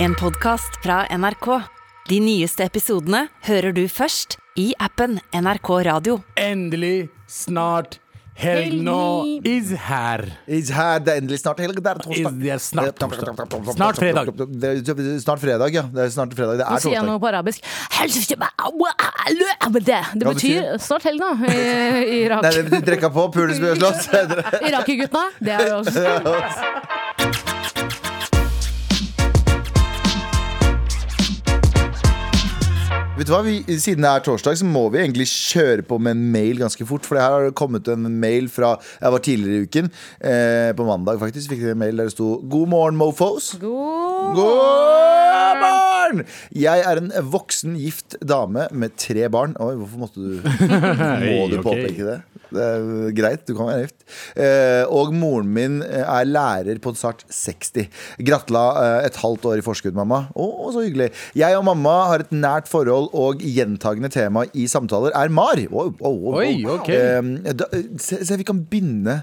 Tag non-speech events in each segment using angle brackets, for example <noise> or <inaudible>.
En podcast fra NRK. De nyeste episodene hører du først i appen NRK Radio. Endelig, snart, helg nå is her. Is her, det er endelig snart helg. Det er torsdag. Eh, Is- det er snart torsdag. Snart fredag. Det er snart fredag, ja. Det er snart fredag. Det Nå er sier jeg noe torsdag. på arabisk. Det, det betyr Hva betyr snart helg, da, i i Irak. Nei, <laughs> det- de trekker på, pules blir slåss. Irakergutta. Det <laughs> er oss. Vet du hva, vi, Siden det er torsdag, så må vi egentlig kjøre på med en mail ganske fort. For det her har det kommet en mail fra jeg var tidligere i uken. Eh, på mandag faktisk fikk vi en mail der det sto 'God morgen, mofos'. God God morgen! Jeg er en voksen, gift dame med tre barn. Oi, hvorfor <laughs> måtte du Må du ok. påpeke det? Det er øh, greit, du kan være gift. Eh, og moren min eh, er lærer på en snart 60. Gratla eh, et halvt år i forskudd, mamma. Å, så hyggelig. Jeg og mamma har et nært forhold, og gjentagende tema i samtaler er Mar. Wow, wow, wow, wow. Oi, ok. Eh, da, se, se, vi kan binde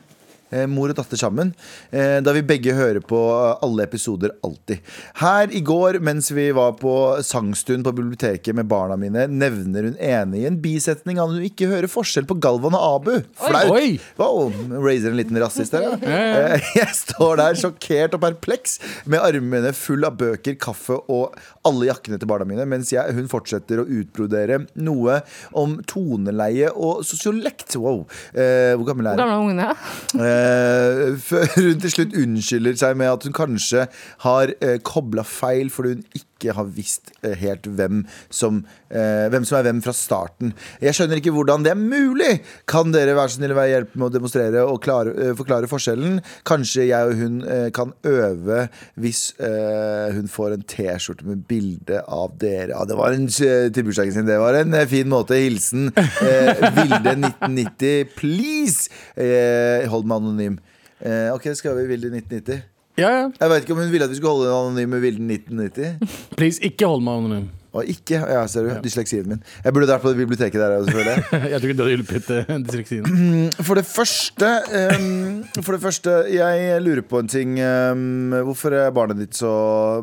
eh, mor og datter sammen, eh, da vi begge hører på eh, alle episoder alltid. Her i går, mens vi var på sangstund på biblioteket med barna mine, nevner hun ene i en bisetning at hun ikke hører forskjell på Galvan og Abu. Flaut! Oi. Wow, raiser en liten rasist her, da. Eh, <laughs> Jeg står der sjokkert og perpleks med armene full av bøker, kaffe og alle jakkene til barna mine, mens jeg, hun fortsetter å utbrodere noe om toneleie og sosiolekt. Wow. Eh, hvor gammel er hun? gamle ungene. Eh, før <laughs> hun til slutt unnskylder seg med at hun kanskje har eh, kobla feil fordi hun ikke har visst eh, helt hvem som, eh, hvem som er hvem fra starten. Jeg skjønner ikke hvordan det er mulig! Kan dere være så snill å være hjelp med å demonstrere og klare, eh, forklare forskjellen? Kanskje jeg og hun eh, kan øve hvis eh, hun får en T-skjorte med bilde av dere. Ja, det var en eh, til bursdagen sin. Det var en eh, fin måte. Hilsen eh, Vilde 1990. Please! Eh, hold meg anonym. Eh, ok, skal vi Vilde 1990? Ja, ja. Jeg vet ikke om hun ville at vi skulle holde en anonym med Vilde 1990. Please, ikke hold meg anonym. Og ikke. Ja, ser du. Dysleksien min. Jeg burde vært på det biblioteket der. selvfølgelig <laughs> Jeg tror ikke du hadde hjulpet eh, dysleksien. Ehm, For det første ehm, For det første, jeg lurer på en ting ehm, Hvorfor er barnet ditt så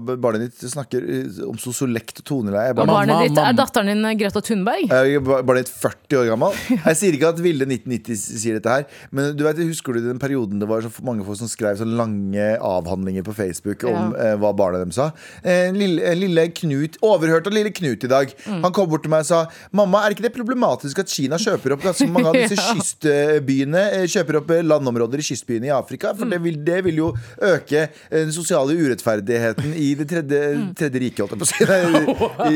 Barnet ditt snakker eh, om sosiolekt og toneleie Er Og barnet, Mamma, barnet ditt mamma. er datteren din Greta Thunberg. er bar- barnet ditt 40 år <laughs> gammel Jeg sier ikke at Vilde 1990 sier dette her Men du vet, husker du den perioden det var så mange folk som skrev sånne lange avhandlinger på Facebook Om Ja. eh, hva barnet dem sa eh, lille, eh, lille Knut, overhørt av lille Knut i dag Mm. Han kom bort til meg og sa Mamma, er ikke det problematisk at Kina kjøper opp ganske mange av disse <laughs> Ja. kystbyene eh, Kjøper opp eh, landområder i kystbyene i Afrika For det Mm. vil, det vil jo øke eh, den sosiale urettferdigheten I det tredje, Mm. tredje riket, holdt jeg på å si Nei, I,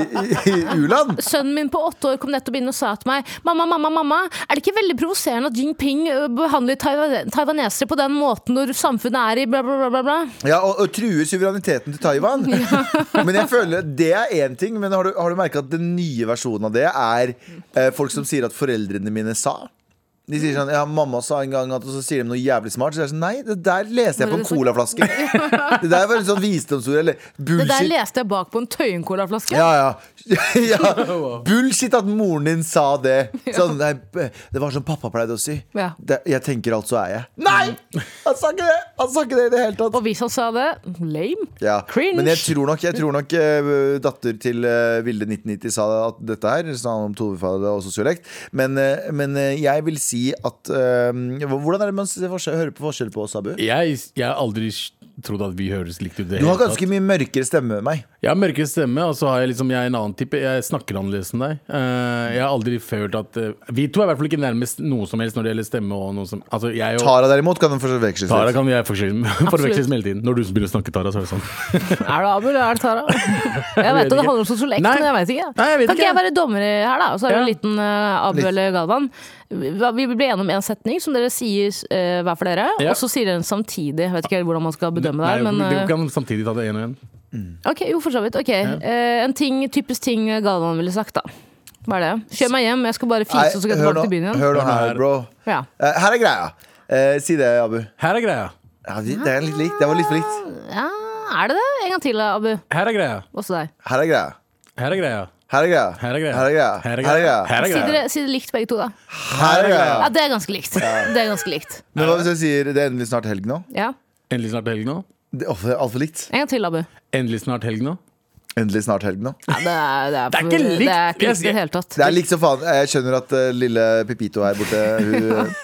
i, i U-land Sønnen min på åtte år kom nettopp inn og sa til meg Mamma, mamma, mamma, er det ikke veldig provoserende at Jinping ø, behandler taiwa- taiwanesere på den måten når samfunnet er i bla, bla, bla, bla, bla? Ja, og, og true suvereniteten til Taiwan. <laughs> men jeg føler at det er én ting. Men har du, har du merka at den nye versjonen av det er eh, folk som sier at foreldrene mine sa? De sier sånn, ja, mamma sa en gang at Og så sier de noe jævlig smart. Så jeg er sånn, nei, det der leste jeg på en <laughs> colaflaske. det der var en sånn visdomsord. Eller Det der bullshit. leste jeg bak på en Tøyen-colaflaske. Ja, ja. <laughs> ja. Bullshit at moren din sa <laughs> det. Sånn, nei, det var som pappa pleide å si. Ja. Det, jeg tenker, altså er jeg. Nei! Han sa ikke det! Han sa ikke det i det hele tatt. Og hvis han sa det, lame. Ja. Cringe. Men jeg tror nok, jeg tror nok eh, datter til eh, Vilde 1990 sa at dette her det handler om tovefader og sosiolekt. Men, eh, men eh, jeg vil si at eh, Hvordan er det man ser forskjell, hører på forskjell på oss, Abu? Jeg, jeg har aldri s- trodd at vi høres likt ut. i det Du hele har tatt. ganske mye mørkere stemme enn meg. Jeg har mørkere stemme, og så har jeg liksom, jeg er en annen type. Jeg snakker annerledes enn deg. Eh, jeg har aldri følt at eh, Vi to er i hvert fall ikke nærmest noe som helst når det gjelder stemme. og noe som, altså jeg og Tara derimot kan den forveksles Tara litt. kan jeg <laughs> forveksles forveksles med hele tiden. Når du begynner å snakke Tara, så er det sånn. Er det Abu eller er <laughs> det Tara? Jeg vet vet at det ikke. handler om sosiolekt, Nei. men jeg vet ikke. Nei, jeg vet kan ikke. ikke jeg være dommer her, da? Og så er det en Ja. liten eh, Abu Litt. eller Galvan. Vi vi blir enige om én setning som dere sier eh, hver for dere, Ja. og så sier dere den samtidig. Jeg vet ikke helt hvordan man skal bedømme det Nei, her, men Du eh, kan samtidig ta det én og én. Ok, jo, for så vidt. Ok, eh, En ting, typisk ting Galvan ville sagt, da. Hva er det? Kjør meg hjem, jeg skal bare Nei, fise, og så skal jeg hør tilbake til nå- byen igjen. Hør nå her, bro. Ja. Eh, Her er greia. Eh, si det, Abu. Her er greia. Ja, det det er litt likt. Det var litt for likt. ja, er det det? En gang til, Abu. Her er greia. Også deg. Her er greia. Her er greia. Her er greia. Her er greia. Her er greia. Her er Her er greia. greia. Her er Si greia. dere, si det likt, begge to, da. Her er Ja, greia. Det er ganske likt. Det er ganske likt. Men hva hvis jeg sier det er endelig snart helg nå? Ja. Endelig snart helg nå. Det er altfor likt. En gang til, Abu. Endelig snart helg nå. Endelig snart helg nå. Ja, det, er, det, er, Det er ikke likt. Det er Jeg ikke likt i det sier- hele tatt. Det er likt som faen. Jeg skjønner at eh, lille Pepito her borte Hun,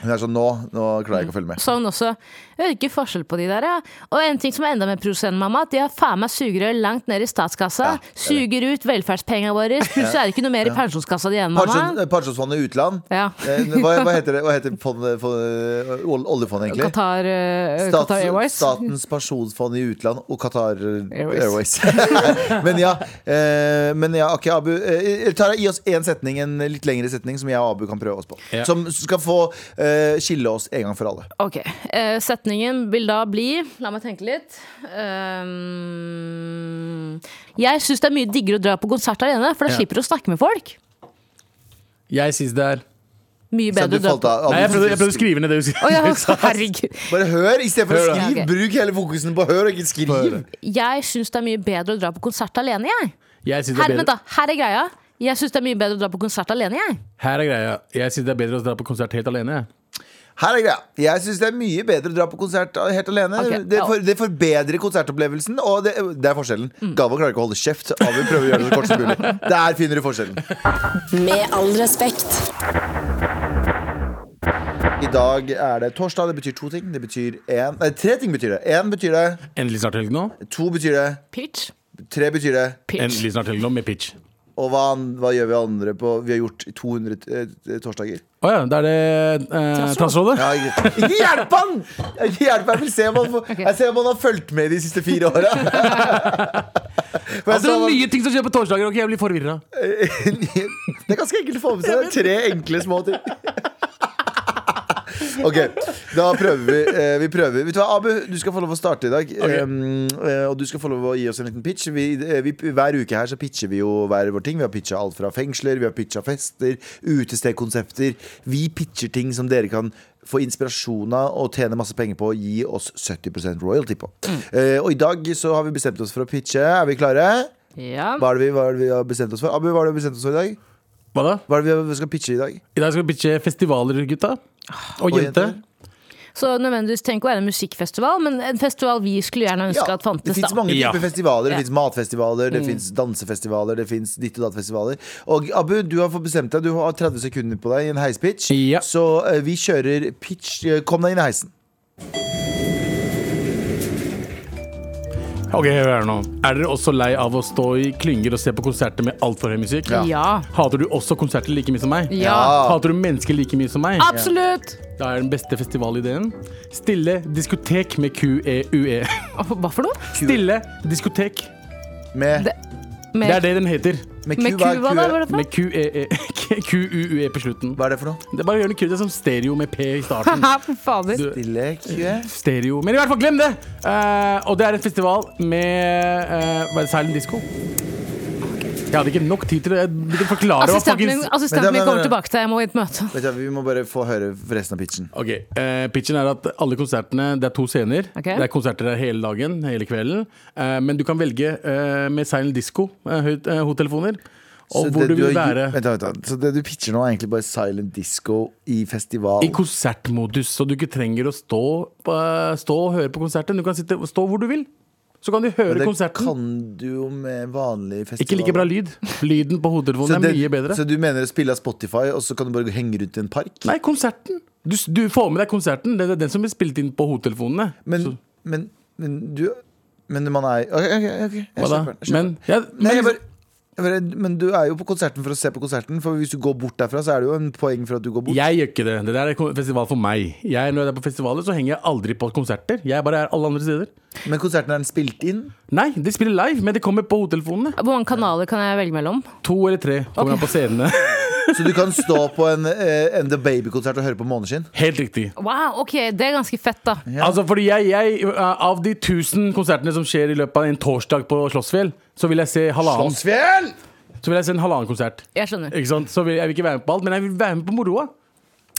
hun er sånn nå, nå klarer jeg ikke å følge med. Sa hun også. Jeg hører ikke forskjell på de der, ja. Og en ting som er enda mer provoserende, mamma, at de har faen meg sugerør langt ned i statskassa. Ja, det er det. suger ut velferdspengene våre. Plutselig er det ikke noe mer i pensjonskassa di igjen, Pensjon- mamma. eh, Pensjonsfondet utland. Ja. Eh, Hva, hva heter det? Hva heter fondet, fondet, eh, ol- oljefondet, egentlig? Qatar, eh, Stats- Qatar Airways. Statens pensjonsfond i utland og Qatar Airways. <laughs> Airways. men ja, eh, men ja ok, Abu. Eh, Tara, gi oss én setning, en litt lengre setning, som jeg og Abu kan prøve oss på. Ja. Som skal få eh, skille oss en gang for alle. Ok, eh, setningen vil da bli La meg tenke litt Ehm, Jeg synes det er mye diggere å dra på konsert alene For da Ja. slipper du å snakke med folk Jeg syns det er Mye Så bedre du å dra falt på av. Abu, Nei, jeg prøvde, jeg prøvde å skrive ned det du <laughs> Å, skrev. <laughs> ja, herregud Bare hør istedenfor å Hør da. skrive. Ja, ok. Bruk hele fokusen på hør, og ikke skriv. Hør. Jeg synes det er mye bedre å dra på konsert alene jeg. Jeg synes det Her, er vent bedre. da, her er greia Jeg synes det er mye bedre å dra på konsert alene jeg. Her er greia. Jeg synes det er bedre å dra på konsert helt alene. jeg. Her er greia. Jeg syns det er mye bedre å dra på konsert eh, helt alene. Ok, det, ja. for, det forbedrer konsertopplevelsen, og det, det er forskjellen. Mm. Galvan klarer ikke å holde kjeft. Abu prøver å gjøre det så kort <laughs> som mulig. Der finner du forskjellen. Med all respekt. I dag er det torsdag. Det betyr to ting. Det betyr én Nei, tre ting betyr det. Én betyr det. Endelig snart helg nå. To betyr det. Pitch, Tre betyr det. pitch Endelig snart helg nå med pitch. Og hva, an- hva gjør vi andre på Vi har gjort 200 eh, torsdager. Å ja, det er det eh, Transrådet? Ja, ikke ikke hjelp han! Ikke hjelp, Jeg vil se om han, får- jeg ser om han har fulgt med de siste fire åra. Altså, det er nye ting som skjer på torsdager, ok, jeg blir forvirra. <laughs> Det er ganske enkelt å få med seg. Tre enkle små ting. OK, da prøver vi. Eh, vi prøver. Vet du hva, Abu, du skal få lov å starte i dag. Um, eh, og du skal få lov å gi oss en liten pitch. Vi, eh, vi, hver uke her så pitcher vi jo hver vår ting. Vi har pitcha alt fra fengsler, vi har pitcha fester, utestedkonsepter. Vi pitcher ting som dere kan få inspirasjon av og tjene masse penger på. Og gi oss 70 royalty på. Eh, og i dag så har vi bestemt oss for å pitche. Er vi klare? ja. Hva er det vi, hva er det vi har bestemt oss for? Abu, hva er det vi har bestemt oss for i dag? Hva da? Hva er det vi skal pitche i dag? I dag skal vi pitche festivaler, gutta. Og jenter. Så nødvendigvis tenk å være en musikkfestival Men en festival vi skulle gjerne ønske Ja, at fantes det fins da mange Ja. typer Ja. festivaler. Det Mm. finnes fins matfestivaler, det finnes fins dansefestivaler, det fins ditt og datt-festivaler. Og Abu, du har fått bestemt deg. Du har 30 sekunder på deg i en heispitch. Ja. Så eh, vi kjører pitch. Eh, Kom deg inn i heisen. Ok, hør nå. Er dere også lei av å stå i klynger og se på konserter med altfor høy musikk? Ja. Ja, Hater du også konserter like mye som meg? ja. Hater du mennesker like mye som meg? Ah. Absolutt Da er den beste festivalideen Stille diskotek med QEUE. Hva for noe? E. Stille diskotek. Med, Det- Med, Det er det den heter. med, med Q, hva Cuba er Q? da, var det for noe? Med E <laughs> QEE QUUE E på slutten. Hva er det for noe? Det er bare å gjøre noe kult. Det er som stereo med P i starten. <laughs> Haha, for fader. Du- Stille Q? Mm. Stereo. Men i hvert fall, glem det! Eh, og det er en festival med uh, Var det Silent Disco? Jeg hadde ikke nok tid til det. Jeg begynte å forklare hva Assistenten Altså, min, fuckings- Men det- assistenten min men- kommer men- tilbake til deg, jeg må i et møte. Vet du, hva, vi må bare få høre resten av pitchen. Ok, eh, Pitchen er at alle konsertene Det er to scener. Ok. Det er konserter der hele dagen, hele kvelden. Eh, men du kan velge eh, med Silent Disco, eh, høyt- eh, hodetelefoner. Og Så hvor det du vil har være gjort- Vent, da, vent, da. Så det du pitcher nå, er egentlig bare silent disco i festival. i konsertmodus. Så du ikke trenger å stå, eh, stå og høre på konserten. Du kan sitte, stå hvor du vil. Så kan du høre Men det konserten. kan du jo med vanlig festival. Ikke like bra lyd. Lyden på hodetelefonen er det- mye bedre. Så du mener å spille av Spotify, og så kan du bare henge rundt i en park? Nei, konserten. Du, s- du får med deg konserten. Det er den som blir spilt inn på hodetelefonene. Men, Så- men, men du Men man er OK, ok, ok, jeg hva da? kjøper den. jeg kjøper den. Men, ja, Nei, men jeg bare jeg bare, men du er jo på konserten for å se på konserten. For hvis du går bort derfra, så er det jo en poeng for at du går bort. Jeg gjør ikke det. Det der er kon- festival for meg. Jeg, når jeg er på festivaler, så henger jeg aldri på konserter. Jeg bare er alle andre steder. Men konserten er den spilt inn. Nei, de spiller live, men de kommer på hodetelefonene. Hvor mange kanaler kan jeg velge mellom? To eller tre kommer an på <laughs> scenene. Så du kan stå på en, eh, en The Baby-konsert og høre på Måneskinn. Helt riktig. Wow, ok, det er ganske fett, da. Altså, fordi jeg, jeg uh, Av de 1000 konsertene som skjer i løpet av en torsdag på Slottsfjell, så vil jeg se halvannen Slottsfjell! Så vil jeg se en halvannen konsert. Jeg skjønner. Ikke sant? Så vil, jeg vil ikke være med på alt, men jeg vil være med på moroa.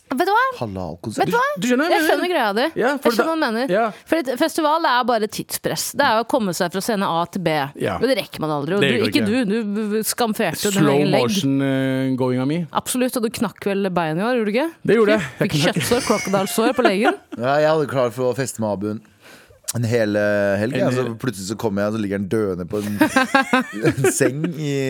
Vet du hva? Halal-konsert. Vet du hva? Du- du skjønner hva jeg jeg skjønner greia di. Ja, jeg for skjønner da- hva du mener. ja. For et festival er bare tidspress. Det er jo å komme seg fra scene A til B. Ja. Men det rekker man aldri. Og Det du, går ikke ikke. du, du skamferte din Slow eh, egen legg. motion-goinga mi. Absolutt, og du knakk vel beinet i år, gjorde du ikke? Det gjorde jeg. Jeg <laughs> Fikk kjøttsår, crocodilesår på leggen. Ja, jeg hadde klar for å feste med Abuen. en hel eh, helg. En- ja, så plutselig så kommer jeg, og så ligger han døende på en, en seng i,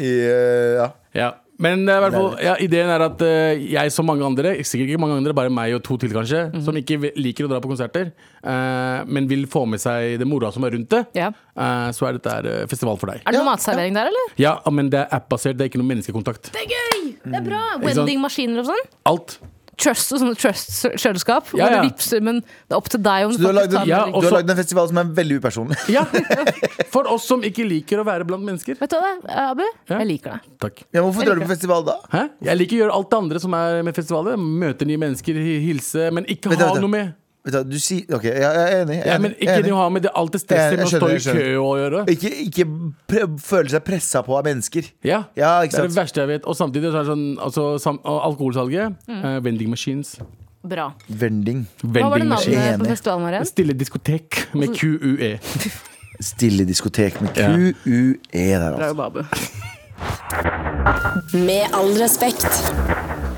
i eh, ja. Ja. Men det er i hvert fall, ja, ideen er at eh, jeg som mange andre, sikkert ikke mange andre, bare meg og to til kanskje, Mhm. som ikke vil- liker å dra på konserter, eh, men vil få med seg det moroa som er rundt det, Ja. eh, så er dette her eh, festival for deg. Er det noe Ja, matservering der, eller? Ja, men det er app-basert, det er ikke noe menneskekontakt. Det er gøy! Det er bra! Mm. Ikke sant? Wending-maskiner og sånn. Alt. Trust og sånne trust-kjøleskap. Ja, Hvor ja. du vipser, men det er opp til deg om Så du har faktisk lagd tar den en, Ja, eller ikke. du også- har lagd en festival som er veldig upersonlig. <laughs> Ja! <laughs> For oss som ikke liker å være blant mennesker. Vet du hva, det er, Abu? Ja. Jeg liker deg. Takk. Ja, men hvorfor drar du på festival da? Hæ? Jeg liker å gjøre alt det andre som er med festivalet. Møte nye mennesker, hi- hilse, men ikke Vent da, ha vent da. noe med. Vet du, hva, du sier, ok, jeg, jeg er enig. Jeg Ja, er men enig, jeg ikke er enig. noe å ha med det, alt det Jeg- stresset jeg med å stå i skjønner, kø jeg å gjøre. Ikke, ikke pre- føle seg pressa på av mennesker. Ja, Ja, ikke det er det sant? verste jeg vet. Og samtidig så er det sånn altså, sam og alkoholsalget. eh, vending machines. Bra. Vending. Hva Mm. var Vending det machines. navnet Enig. på festivalen vår igjen? Altså- Stille diskotek med E. QUE. Stille diskotek med Ja. QUE der, altså. Bra jobba, Abu. Med all respekt.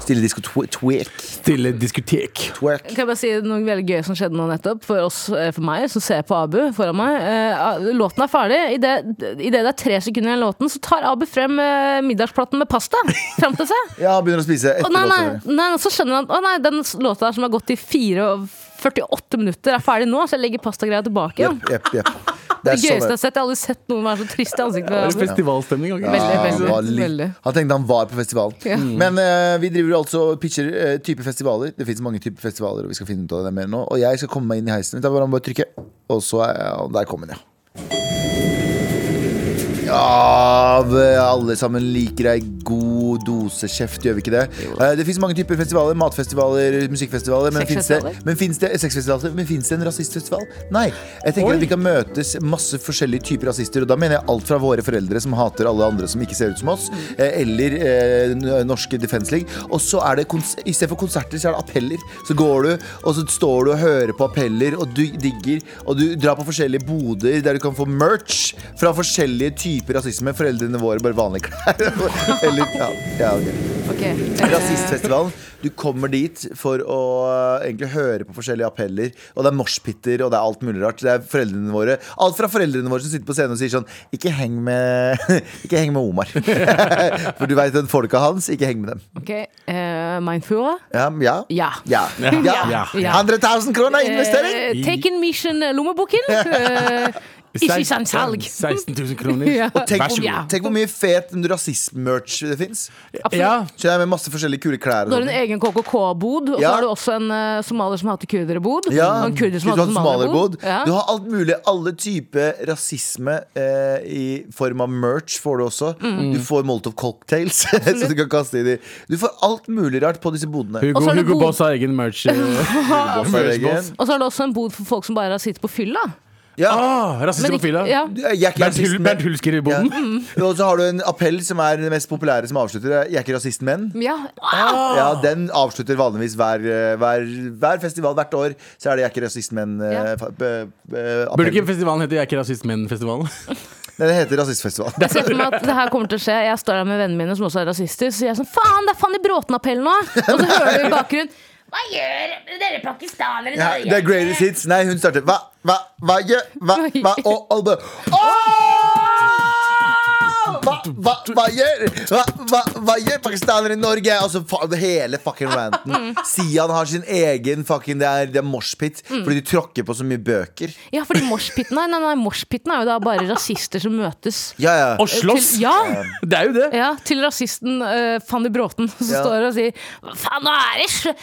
Stille disko tw- twerk. Stille diskotek. Twerk. Kan jeg bare si noe veldig gøy som skjedde nå nettopp, for, oss, eh, for meg som ser på Abu foran meg. Eh, Låten er ferdig. I det, i det det er tre sekunder igjen av låten, så tar Abu frem eh, middagsplaten med pasta fram til seg. Ja, begynner å spise Å etter nei, nei, låta. nei, så skjønner han Å nei, den s- låta der som har gått i 4 og 48 minutter, er ferdig nå, så jeg legger pastagreia tilbake igjen. Jepp, jepp, <laughs> jepp. Det Det er gøyeste jeg har sånn. sett. Jeg har aldri sett noen være så trist i ansiktet. Det med er Abu. festivalstemning. ikke sant? Veldig, Ja, han, veldig, var litt, veldig. han tenkte han var på festivalen. Ja. Men eh, vi driver jo altså og pitcher eh, type festivaler. Det fins mange typer festivaler, og vi skal finne ut av det mer nå. Og jeg skal komme meg inn i heisen. Da må han bare trykke, og så er, og der kom han, ja. Av alle sammen liker ei god dose kjeft, gjør vi ikke det? Eh, Det fins mange typer festivaler. Matfestivaler, musikkfestivaler. Men fins det, Sexfestivaler. men finnes det, sexfestivaler, men finnes det en rasistfestival? Nei. Jeg tenker at vi kan møtes masse forskjellige typer rasister. Og da mener jeg alt fra våre foreldre som hater alle andre som ikke ser ut som oss, eh, eller eh, n- norske Defence League. Og så er det kons i stedet for konserter, så er det appeller. Så går du, og så står du og hører på appeller, og du digger, og du drar på forskjellige boder der du kan få merch fra forskjellige typer rasisme. Foreldrene våre bare vanlige klær. <laughs> eller, ja, ja, ok. Ok. Rasistfestivalen. Eh, Du kommer dit for å eh, egentlig høre på forskjellige appeller. Og det er moshpiter og det er alt mulig rart. Det er foreldrene våre Alt fra foreldrene våre som sitter på scenen og sier sånn Ikke heng med, <laughs> ikke heng med Omar. <laughs> for du veit den folka hans. Ikke heng med dem. Ok, eh, Mindfura? Ja. Ja. Ja. ja. Ja. 100 000 kroner investering! Eh, take in mission eh, lommeboken. Eh, ikke i sant salg. 16 000 kroner. <laughs> Ja. Og Tenk Vær hvor, så Ja. god. tenk hvor mye fet rasistmerch det fins. Ja, Med masse forskjellige kule klær. Du Og har en sånt. egen KKK-bod, og så Ja. har du også en eh, somalier som hater kurderbod. Ja, Og en kurder som du har hater somalerbod. somalierbod. Ja. Du har alt mulig. Alle typer rasisme eh, i form av merch får du også. Mm. Du får Molotov cocktails, <laughs> så du kan kaste inn i Du får alt mulig rart på disse bodene. Hugo, Og så er det Hugo god- Boss har egen merch. <laughs> eh, Hugo Boss har egen- Egen. Og så har du også en bod for folk som bare sitter på fylla. Ja. Ah, Men Rasist ikke- profil, ja. Jeg er Bernt ikke rasist, Hul- men- Bernt Hulsker i boden. Mm. Ja. Og så har du en appell som er den mest populære, som avslutter. Jeg er ikke rasist, men. Ja. Ja, Den avslutter vanligvis hver, eh, hver, hver festival hvert år. Så er det Jeg er ikke rasist, men. eh, Ja. fa- be- be- Burde ikke appell. festivalen hete Jeg er ikke rasist, <laughs> men-festivalen? Nei, det heter Rasistfestival. Jeg ser for meg at det her kommer til å skje. Jeg står der med vennene mine som også er rasister, så sier jeg sånn Faen, det er Fanny Bråten-appell nå! Og så hører du i bakgrunnen Hva gjør dere pakistanere i Ja, Norge? the greatest hits. Nei, hun starter Hva, hva, hva gjør Hva, hva Og alle Åh! hva, hva, hva gjør Hva, hva, hva gjør pakistanere i Norge? Altså, fa det hele fucking ranten. Sian har sin egen fucking Det er, det er moshpit fordi de tråkker på så mye bøker. Ja, fordi moshpiten Nei, nei, nei, moshpiten er jo da bare rasister som møtes. eh, Ja, ja. Og slåss! Til, ja, Det er jo det! Ja, til rasisten eh, Fanny Bråten som Ja. står og sier Hva faen, nå er det sl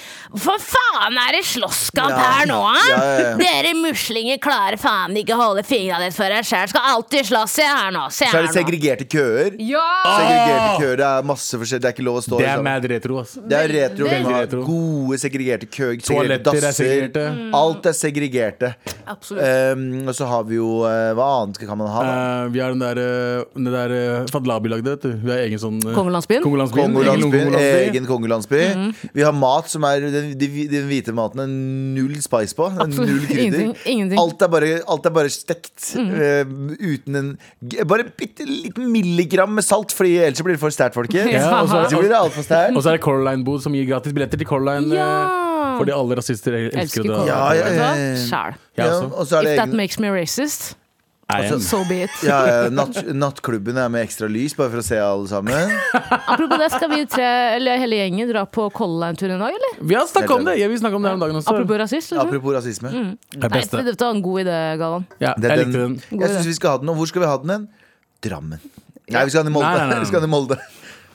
Hva faen er det slåsskamp Ja. her nå, eh? Ja, ja, ja. Dere muslinger klarer faen ikke holde fingrene deres for dere sjæl. Skal alltid slåss. Se her nå. Se Så er her det nå. segregerte køer. Ja! Segregerte køer, Det er masse forskjell. Det er ikke lov å stå Ah, Det er liksom. mad retro, altså. ass. Det er retro. Veldig vi har retro. Gode segregerte køer. Segregerte Toaletter er dasser. segregerte. Alt er segregerte. Mm. Absolutt. Ehm, og så har vi jo eh, Hva annet kan man ha? da? Eh, vi har den der, eh, den der eh, Fadlabi lagde, vet du. Vi har egen sånn eh, Kongelandsbyen? Kongelandsbyen. Kongolandsbyen. Egen Egen kongolandsby. Mm. Vi har mat som er den, de- den hvite maten er null spice på. Absolutt. Null krydder. Ingenting, ingenting. Mm. Alt, er bare, alt er bare stekt. eh, uten en g- Bare bitte liten milligram med salt, Fordi ellers blir det for sterkt, folket. Ja, og så- Ellers blir det alt for sterkt. Og så er det Color Line-bod som gir gratis billetter til Color Line. eh, Ja. Fordi alle rasister elsker Elsker det. kål. Ja, ja, ja, ja. Sjæl. Jeg Ja, også. og så er det If that egen makes me racist, I am. so be it. ja, ja, natt, Nattklubben er med ekstra lys, bare for å se alle sammen. <laughs> Apropos det, skal vi tre, eller hele gjengen, dra på Color Line-tur en dag, eller? Vi har snakket om det! Jeg vil snakke om det her om dagen også. Apropos rasist. Liksom. Apropos rasisme. Det er Nei, beste. dette var en god idé, Galvan. Ja, Det er jeg likte den. God Jeg idé. syns vi skal ha den. Og hvor skal vi ha den hen? Drammen. Nei, vi skal ha den i Molde. Nei, nei, nei, nei. <laughs> Vi skal ha den i Molde.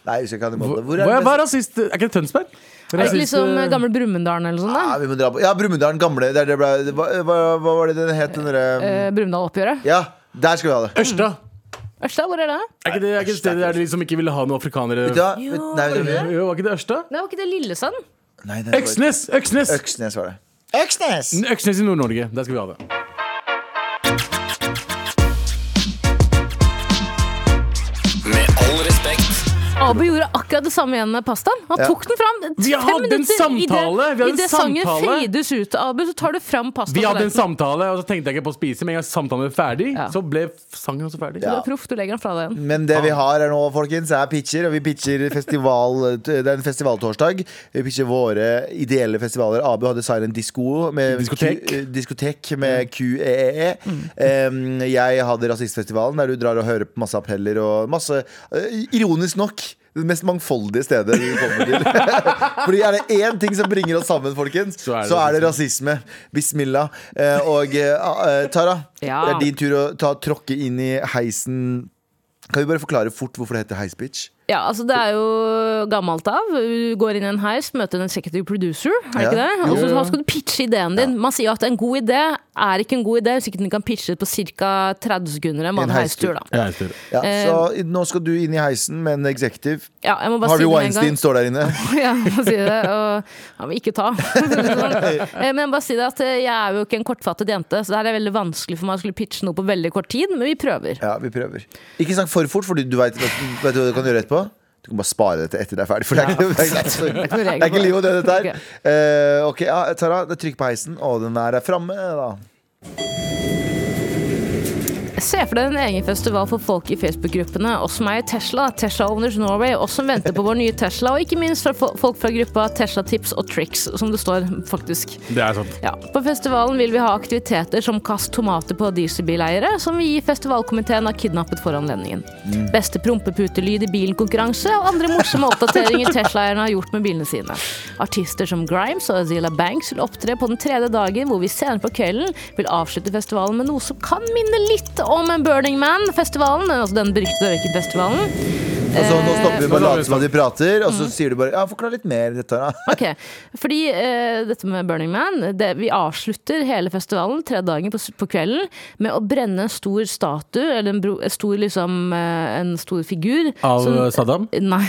Nei, vi skal ikke ha den i Molde. Hvor Hvor er er, den hva er beste? rasist? Er ikke det Tønsberg? Er det Rasist- ikke liksom eh, gamle Brumunddalen eller sånn? Ja, da? vi må dra på Ja, Brumunddal, den gamle. Der det ble, hva, hva, hva var det den het, den derre Eh, Brumunddal-oppgjøret? Ja, der skal vi ha det. Ørsta! Ørsta, hvor er det? Er ikke det, er ikke det stedet der de liksom ikke ville ha noen afrikanere Vet du hva? Vet- Nei, vet du hva? Jo, var ikke det Ørsta? Det var ikke det Lillesand? Nei, det var- Øksnes! Øksnes! Øksnes var det. Øksnes i Nord-Norge. Der skal vi ha det. Med all respekt. Abu gjorde akkurat det samme igjen med pastaen. Han Ja. tok den fram fem Vi hadde en minutter samtale. Vi hadde i en det sangen samtale. fades ut, Abu, så tar du fram pastaen. Vi hadde en samtale, og så tenkte jeg ikke på å spise. Men en gang samtalen var ferdig, Ja. så ble sangen også ferdig. Du er proff, du legger den fra deg igjen. Men det vi har her nå, folkens, er pitcher. Og vi pitcher festival <laughs> Det er en festivaltorsdag. Vi pitcher våre ideelle festivaler. Abu hadde Siren Disco med Diskotek. Q, eh, diskotek med QEEE. E. Em, jeg hadde Rasistfestivalen, der du drar og hører på masse appeller og masse eh, Ironisk nok. Det mest mangfoldige stedet vi kommer til. <laughs> Fordi er det én ting som bringer oss sammen, folkens, så er det, rasisme. Bismillah. Eh, og eh, eh, Tara, Ja. det er din tur å ta tråkke inn i heisen kan vi bare forklare fort hvorfor det heter Heis Bitch? Ja, altså Det er jo gammelt av. Du går inn i en heis, møter en executive producer. Er det Ja. ikke det? Og Jo, jo. så skal du pitche ideen din. Man sier at en god idé er ikke en god idé hvis ikke den kan pitches på ca. 30 sekunder. En En heistur. heistur, da. Ja, jeg ser det. Ja, Eh, så i- nå skal du inn i heisen med en executive. Ja, jeg må bare si Harvey det med en gang. <laughs> Weinstein står der inne. Ja, jeg må si det. Og han vil ikke ta. Eh, Men jeg må bare si det at eh, jeg er jo ikke en kortfattet jente, så det her er veldig vanskelig for meg å skulle pitche noe på veldig kort tid, men vi prøver. Ja, vi prøver. Ikke snakk for fort, for du veit hva du kan gjøre etterpå. Du kan bare spare det til etter det er ferdig. For det er ikke, <laughs> det er ikke, noe det regel er ikke liv og død, dette her. Ok. Eh, ok, ja, Tara, det er trykk på heisen, og den er framme, da. Se for deg en egen festival for folk i Facebook-gruppene, oss som er i Tesla, Tesla Owners Norway, oss som venter på vår nye Tesla, og ikke minst fra fo- folk fra gruppa Tesla Tips og Tricks, som det står faktisk. Det er sant. Ja. På festivalen vil vi ha aktiviteter som kast tomater på dieselbileiere, som vi i festivalkomiteen har kidnappet for anledningen. Beste prompeputelyd i bilen-konkurranse og andre morsomme oppdateringer Tesla-eierne har gjort med bilene sine. Artister som Grimes og Azila Banks vil opptre på den tredje dagen, hvor vi senere på kvelden vil avslutte festivalen med noe som kan minne litt om en Burning Man-festivalen, altså den beryktede røykenfestivalen. Og så nå stopper vi Nå bare tar vi å late som at vi prater, og Mm. så sier du bare Ja, forklar litt mer, Tara. Ok, fordi eh, dette med Burning Man det, Vi avslutter hele festivalen Tre dager på, s- på kvelden Med å brenne en stor statue Eller en, bro, en, stor, liksom, eh, en stor figur Av eh, som- Saddam? Nei,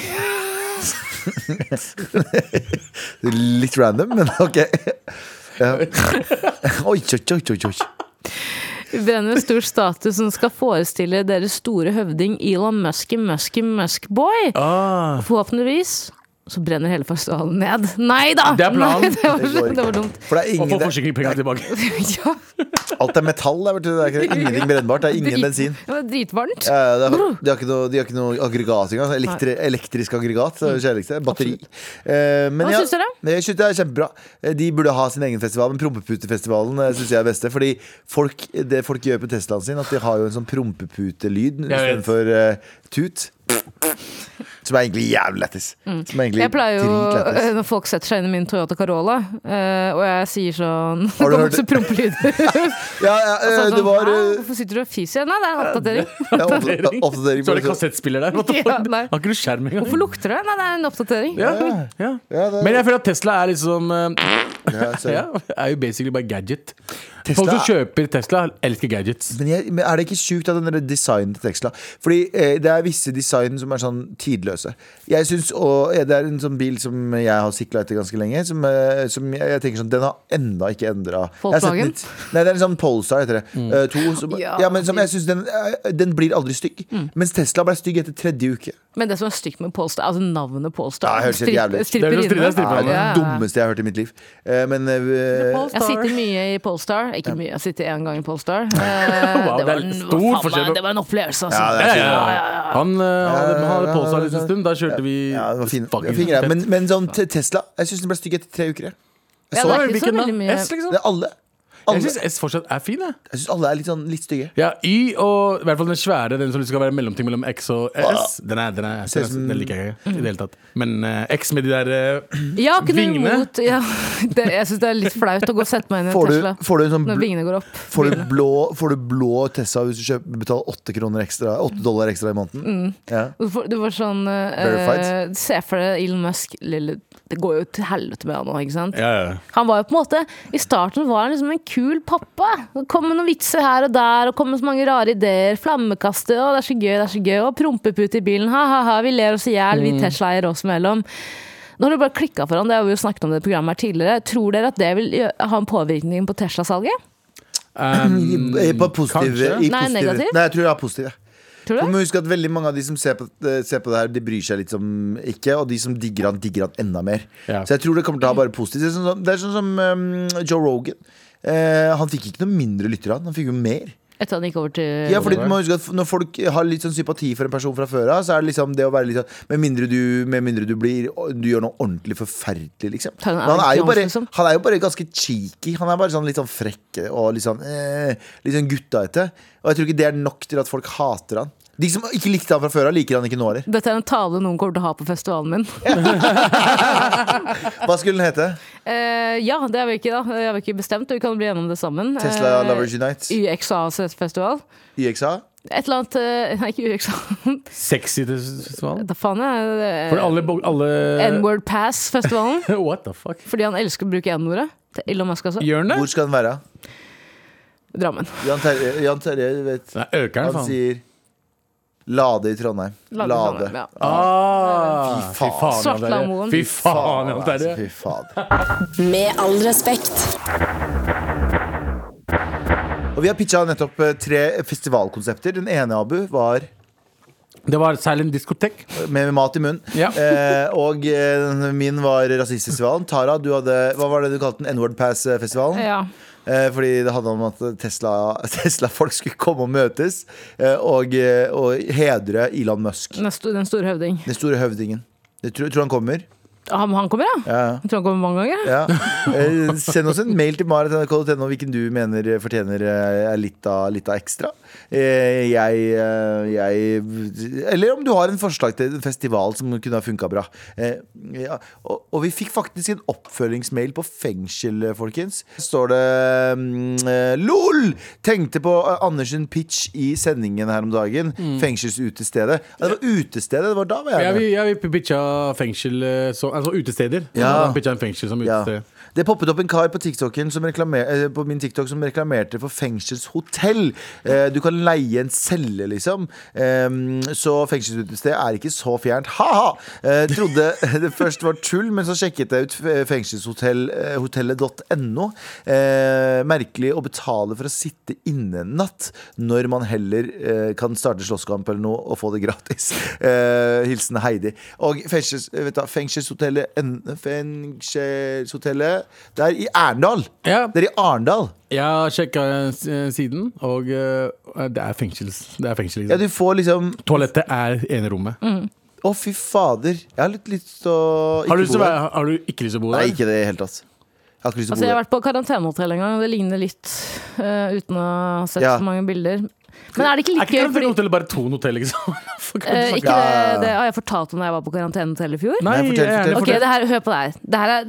<laughs> <laughs> Litt random, men ok. Ja. Oi, oi, oi, oi, oi. vi brenner en stor statue Som skal forestille deres store høvding Elon Musk, Musk, Musk Boy Ah, Forhåpentligvis så brenner hele festivalen ned Nei da! Det er planen. Nei, det, var, Det går ikke. det var dumt <laughs> For det er og ingen få det- forsikringspengene <laughs> tilbake. ja, Alt er metall der, vet du. Det er ikke ingenting brennbart. Det er <laughs> ingen drit- bensin. Det var dritvarmt Ja, ja, Eh, det er, de, har ikke noe, de har ikke noe aggregat engang. sånn Elektri, elektrisk aggregat. Det er det kjedeligste. Batteri. Eh, men Mm. Hva ja, syns dere? men Jeg synes det er kjempebra. Eh, De burde ha sin egen festival, men Prompeputefestivalen eh, synes jeg er beste. Fordi folk, det folk gjør på Teslaen sin, at de har jo en sånn prompeputelyd Jeg vet. istedenfor uh, tut. Som er egentlig jævlig lættis. Som er Mm. egentlig Jeg pleier jo, dritlættis. eh, <laughs> når folk setter seg inn i min Toyota Corolla, eh, og jeg sier sånn <laughs> Det Har du kom hørt også prompelyder. <laughs> Ja, ja, eh, Sånn, det var «Hæ? eh, Hvorfor sitter du og fiser? Nei, det er en oppdatering. ja, oppdatering. oppdatering Så er det på- kassettspiller der. What the Ja, fuck? nei. Har ikke du skjerm engang? Hvorfor lukter det? Nei, det er en oppdatering. Ja, ja. Ja, det- Men jeg føler at Tesla er liksom eh, Ja, sorry. ja, er jo basically bare gadget. Tesla Folk som er- kjøper Tesla, elsker gadgets. Men, jeg, men er det ikke sjukt at den der designen til Tesla Fordi eh, det er visse design som er sånn tidløse. Jeg synes, og eh, Det er en sånn bil som jeg har sikla etter ganske lenge, som, eh, som jeg, jeg tenker sånn Den har enda ikke endra Volkswagen? Nei, det er en sånn Polestar, heter det. Mm. Eh, to, som, ja. Ja. Mm. men som jeg synes den, eh, den blir aldri stygg. Mens Tesla ble stygg etter tredje uke. Men det som er stygt med Polestar, altså navnet Polestar Ja, det høres helt jævlig ut. Det er jo stri- det er Stripperinne. stri- Ja, det er Ja. det dummeste jeg har hørt i mitt liv. Eh, men eh, Jeg sitter mye i Polestar. Ikke mye, jeg sitter én gang <laughs> i Polestar. Eh, Wow, det det, er var en, stor faen meg, forskjell. det var en opplevelse, altså. Ja, det Ja, er ja, ja. Han eh, hadde, han hadde på seg en liten stund. Da kjørte vi ja, det var fin, fucking fin greie. fett. Men, men sånn te- Tesla Jeg synes den ble stygg etter tre uker. jeg. Ja, Så det er Oi, ikke så hvilken da? veldig mye S, liksom? Det er alle. alle. Jeg syns S fortsatt er fin, jeg. Jeg syns alle er litt, sånn, litt stygge. Ja, Y og i hvert fall den svære, den som skal være mellomting mellom X og S. Den, er, den, er, Ser den, ut er, som- den liker jeg ikke i det hele tatt. Men eh, X med de der eh, Ja, ikke noe Vingene? imot. <laughs> Ja, det, jeg syns det er litt flaut å gå og sette meg inn i en Får du, Tesla får du en sånn når bl vingene går opp. får du blå, får du blå Tessa hvis du kjøper, betaler 8, kroner ekstra, 8 dollar ekstra i måneden? Mm. Ja. Du får, du får sånn eh, Verified. Se for deg Elon Musk. Lille, det går jo til helvete med han nå, ikke sant? ja, ja. Han var jo på en måte I starten var han liksom en kul pappa. Det kom med noen vitser her og der, og kom med så mange rare ideer. Flammekaster, å det er så gøy, det er så gøy. Og prompepute i bilen, ha-ha-ha, vi ler oss i hjel, Mm. vi Tesla-eier oss mellom. Nå har det bare klikka for han, det har vi jo snakket om det i programmet her tidligere. Tror dere at det vil gjø- ha en påvirkning på Tesla-salget? Um, I, på positiv, kanskje. Nei, i positiv- negativ? Nei, jeg tror jeg er positiv. jeg. Tror Du du? må huske at veldig mange av de som ser på, eh, ser på det her, de bryr seg litt som ikke. Og de som digger han, digger han enda mer. Ja. Så jeg tror det kommer til å ha bare positivt. Det er sånn som, det er sånn som eh, Joe Rogan. Eh, han fikk ikke noe mindre lyttere, han. Han fikk jo mer. Etter at han gikk over til Ja, fordi du må huske at Når folk har litt sånn sympati for en person fra før av, så er det liksom det å være litt sånn Med mindre du, med mindre du blir Du gjør noe ordentlig forferdelig, liksom. Ta en Men han, er jo Alex bare, Johnson, liksom. han er jo bare ganske cheeky. Han er bare sånn litt sånn frekk og litt sånn, eh, litt sånn guttaete. Og jeg tror ikke det er nok til at folk hater han. De som ikke likte han fra før av, liker han ikke nå heller. Dette er en tale noen kommer til å ha på festivalen min. Hva skulle den hete? Eh, ja, det er vi ikke, da. Jeg har vi ikke bestemt, og vi kan bli gjennom det sammen. Tesla Eh, Lovers Unite? YXA-festival. YXA? Et eller annet eh, <laughs> Nei, ikke UXA. Sexy til festivalen. Da faen jeg For alle, bo- alle N-word pass-festivalen. <laughs> <laughs> What the fuck? Fordi han elsker å bruke N-ordet. Det er Elon Musk, altså. Gjør den det? Hvor skal den være? Drammen. Jan Terje, Jan Terje vet Nei, øker den, Han faen. sier Lade i Trondheim. Lade i Lade. Trondheim, ja. Ah, fy faen, Jan Terje. Svartlamoen. Fy faen, Jan Altså, Terje. Fy fader. Med all respekt. Og vi har pitcha nettopp eh, tre festivalkonsepter. Den ene, Abu, var eh, Det var Silent Diskotek. med mat i munnen. Ja. Eh, og eh, min var rasistfestivalen. Tara, du hadde, hva var det du kalte den? N-word Pass-festivalen? Ja. Eh, fordi det handla om at Tesla- <laughs> Tesla-folk skulle komme og møtes eh, og, eh, og hedre Elon Musk. Den sto- Den store høvding. Den store høvdingen. Jeg tror, tror han kommer. Han, han kommer, ja? Ja. Jeg tror han kommer mange ganger. Ja. Eh, Send oss en mail til marit.nrk.no hvilken du mener fortjener eh, litt av, litt av ekstra. Eh, Jeg, eh, jeg Eller om du har en forslag til en festival som kunne ha funka bra. Eh, Ja. Og, og vi fikk faktisk en oppfølgingsmail på fengsel, folkens. Står det mm, eh, LOL! Tenkte på eh, Andersen Pitch i sendingen her om dagen. Fengselsutestedet. Ja, det var utestedet, det var da var jeg Mm. Ja, med. vi, ja, vi pitcha fengsel eh, så, Altså utesteder. Ja. Vi pitcha en fengsel som Ja. utested. Det poppet opp en kar på, TikToken som reklamer, eh, på min TikTok som reklamerte for fengselshotell. Eh, du kan leie en celle, liksom. Ehm, så fengselsutested er ikke så fjernt. Ha-ha! Eh, trodde <laughs> det først var tull, men så sjekket jeg ut eh, fe- fengselshotellet.no. Eh, merkelig å betale for å sitte inne en natt, når man heller eh, kan starte slåsskamp eller noe og få det gratis. <laughs> Eh, hilsen Heidi. Og fengsels, eh, vet du, hva, fengselshotellet en- Fengselshotellet Det er i Arendal! Ja. Det er i Arendal. Jeg har sjekka siden, og eh, det er fengsels. Det er fengsel, Ja, liksom. du Mm. får liksom Toalettet er enerommet. Å, fy fader. Jeg har litt lyst til å Har, du lyst til ikke bo å der. være- har du ikke lyst til å bo der? Nei, ikke det i det hele tatt. Jeg har ikke lyst til å Altså, jeg bo har der. vært på karantenehotell en gang, og det ligner litt eh, uten å ha sett Ja. så mange bilder. Men er det ikke Er like ikke gøy? det Fordi, hotellet bare to hotell, liksom? <laughs> For kan du Eh, snakke- ikke Ja. det, det har jeg fortalt om da jeg var på karantenehotell i fjor? Nei, Nei, fortell, jeg er gjerne Ok, fortell. fortell. det her, Hør på det her. Det her er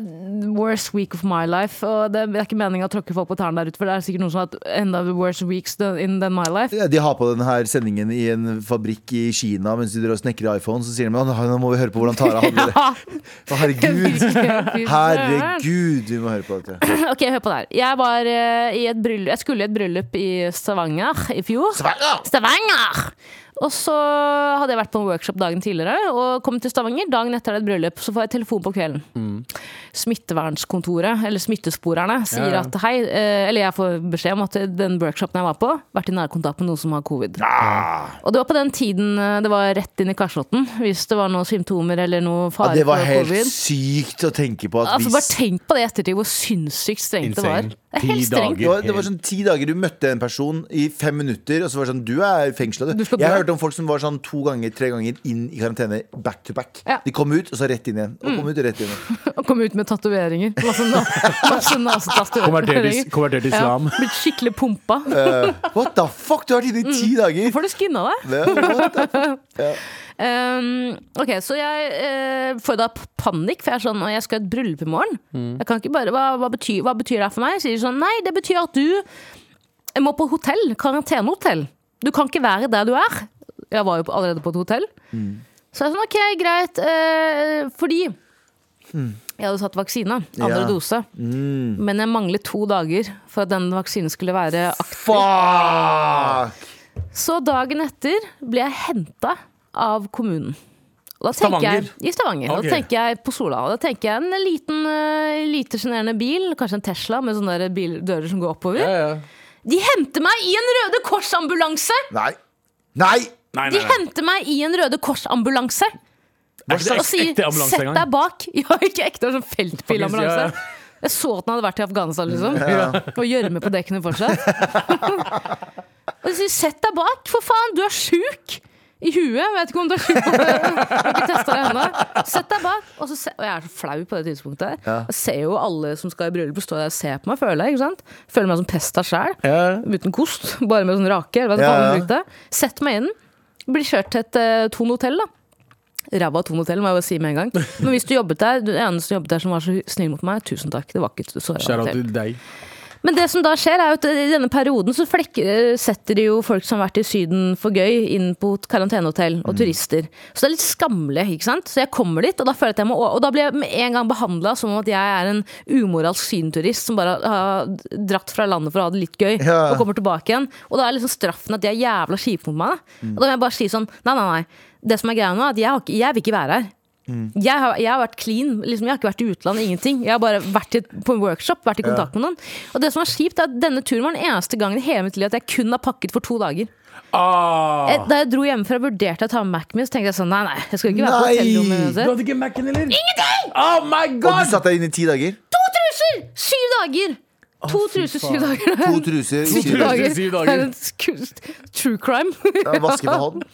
worst week of my life. Og det er ikke meninga å tråkke folk på tærne der ute, for det er sikkert noen som har hatt enda worst weeks than- in than my life. Ja, De har på denne her sendingen i en fabrikk i Kina mens de driver og snekrer iPhone. Så sier de at nå må vi høre på hvordan <laughs> Tara handler. Ja, Å, fy Herregud! søren. Herregud, vi må høre på dette. <laughs> Ok, hør på det her. Jeg, var, eh, i et bryllup, jeg skulle i et bryllup i Stavanger i fjor. Stavanger! Og så hadde jeg vært på en workshop dagen tidligere og kom til Stavanger. Dagen etter er det et bryllup, så får jeg telefon på kvelden. Mm. Smittevernskontoret, eller smittesporerne, sier Ja, ja. at hei eh, Eller jeg får beskjed om at den workshopen jeg var på, vært i nærkontakt med noen som har covid. Og det var på den tiden eh, det var rett inn i kasjotten hvis det var noen symptomer eller noe Ja, fare det var for helt covid. sykt å tenke på at Altså, bare vi tenk på det i ettertid, hvor sinnssykt strengt det var. Insane. Det er helt Ti strengt. det var, det var sånn ti dager du møtte en person i fem minutter, og så var det sånn Du er fengsla, du. Du skal jeg dø. hørte hørte om folk som var sånn to ganger, tre ganger inn i karantene back to back. Ja. Mm. De kom ut, og så rett inn igjen. Og kom ut, og rett inn igjen. Og kom ut med tatoveringer. Masse, na- <laughs> masse nasetatoveringer. Konvertert is- konvertert til islam. Ja, blitt skikkelig pumpa. Eh, what the fuck? Du har vært inne i Mm. ti dager! Får du skinna deg? Det er- what the- Um, ok, så jeg eh, får da p- panikk, for jeg er sånn «Å, Jeg skal i et bryllup i morgen. Jeg kan ikke bare, hva, hva, betyr, hva betyr det her for meg? Sier de sånn Nei, det betyr at du må på hotell. Karantenehotell. Du kan ikke være der du er. Jeg var jo på- allerede på et hotell. Så jeg er sånn OK, greit. eh, fordi jeg hadde tatt vaksine. Andre Ja. dose. Men jeg manglet to dager for at den vaksinen skulle være aktiv. Fuck! Så dagen etter ble jeg henta av kommunen. Og da tenker Stavanger? Jeg, I Stavanger. Og Ok. Da tenker jeg på Sola. Og da tenker jeg en liten, eh, lite sjenerende bil, kanskje en Tesla med sånne der bil, dører som går oppover. Ja, ja. De henter meg i en Røde Kors-ambulanse! Nei! Nei! Nei, De nei, nei. henter meg i en Røde Kors-ambulanse Er ikke det og ek- sier ekte ambulanse Altså, 'sett engang? deg bak'. <laughs> Ja, ikke ekte, det var sånn Faktisk, ja, ja. feltbilambulanse. Jeg så at den hadde vært i Afghanistan, liksom. Og gjørme på dekkene fortsatt. <laughs> og de sier 'sett deg bak', for faen, du er sjuk! I huet. Jeg Vet ikke om du er sjuk <laughs> på det. Jeg har ikke testet det ennå. Sett deg bak. Og, så se, og jeg er så flau på det tidspunktet. her Jeg ser jo alle som skal i bryllup, stå der og se på meg, føler jeg. ikke sant? Føler meg som pesta sjæl. Ja. Uten kost, <laughs> bare med sånn rake. Eller hva Ja, faen ja. de brukte. Sett meg inn. Blir kjørt til et uh, Thon hotell, da. Ræva Thon hotell, må jeg bare si med en gang. Men hvis du jobbet der, du eneste som jobbet der som var så snill mot meg, tusen takk. Det var ikke så ræva Shout out hotell. til deg. Men det som da skjer, er jo at i denne perioden så flekker, setter de jo folk som har vært i Syden for gøy, inn på et karantenehotell og turister. Så det er litt skammelig, ikke sant. Så jeg kommer dit, og da føler jeg at jeg må Og da blir jeg med en gang behandla som om at jeg er en umoralsk sydenturist som bare har dratt fra landet for å ha det litt gøy, Ja. og kommer tilbake igjen. Og da er liksom straffen at de er jævla kjipe mot meg. Da. Og da må jeg bare si sånn Nei, nei, nei. Det som er greia nå, er at jeg, har ikke, jeg vil ikke være her. Jeg har, jeg har vært clean. Liksom, jeg har ikke vært i utlandet, ingenting. Jeg har bare vært i, på en workshop, vært i kontakt med noen. Og det som er kjipt, er at denne turen var den eneste gangen i hele mitt liv at jeg kun har pakket for to dager. Ah, Jeg, da jeg dro hjemmefra og vurderte å ta med Mac-en min, så tenkte jeg sånn nei, nei, jeg skal ikke være på Nei! hotellrommet du uansett. hadde ikke Mac-en, eller? Ingenting! Oh my Og du god! satt deg inn i ti dager? To truser! Syv dager! To truser, syv dager. To truser, Syv syv dager. syv dager. <laughs> Det er en sku- true crime. Ja, Vaske med hånden?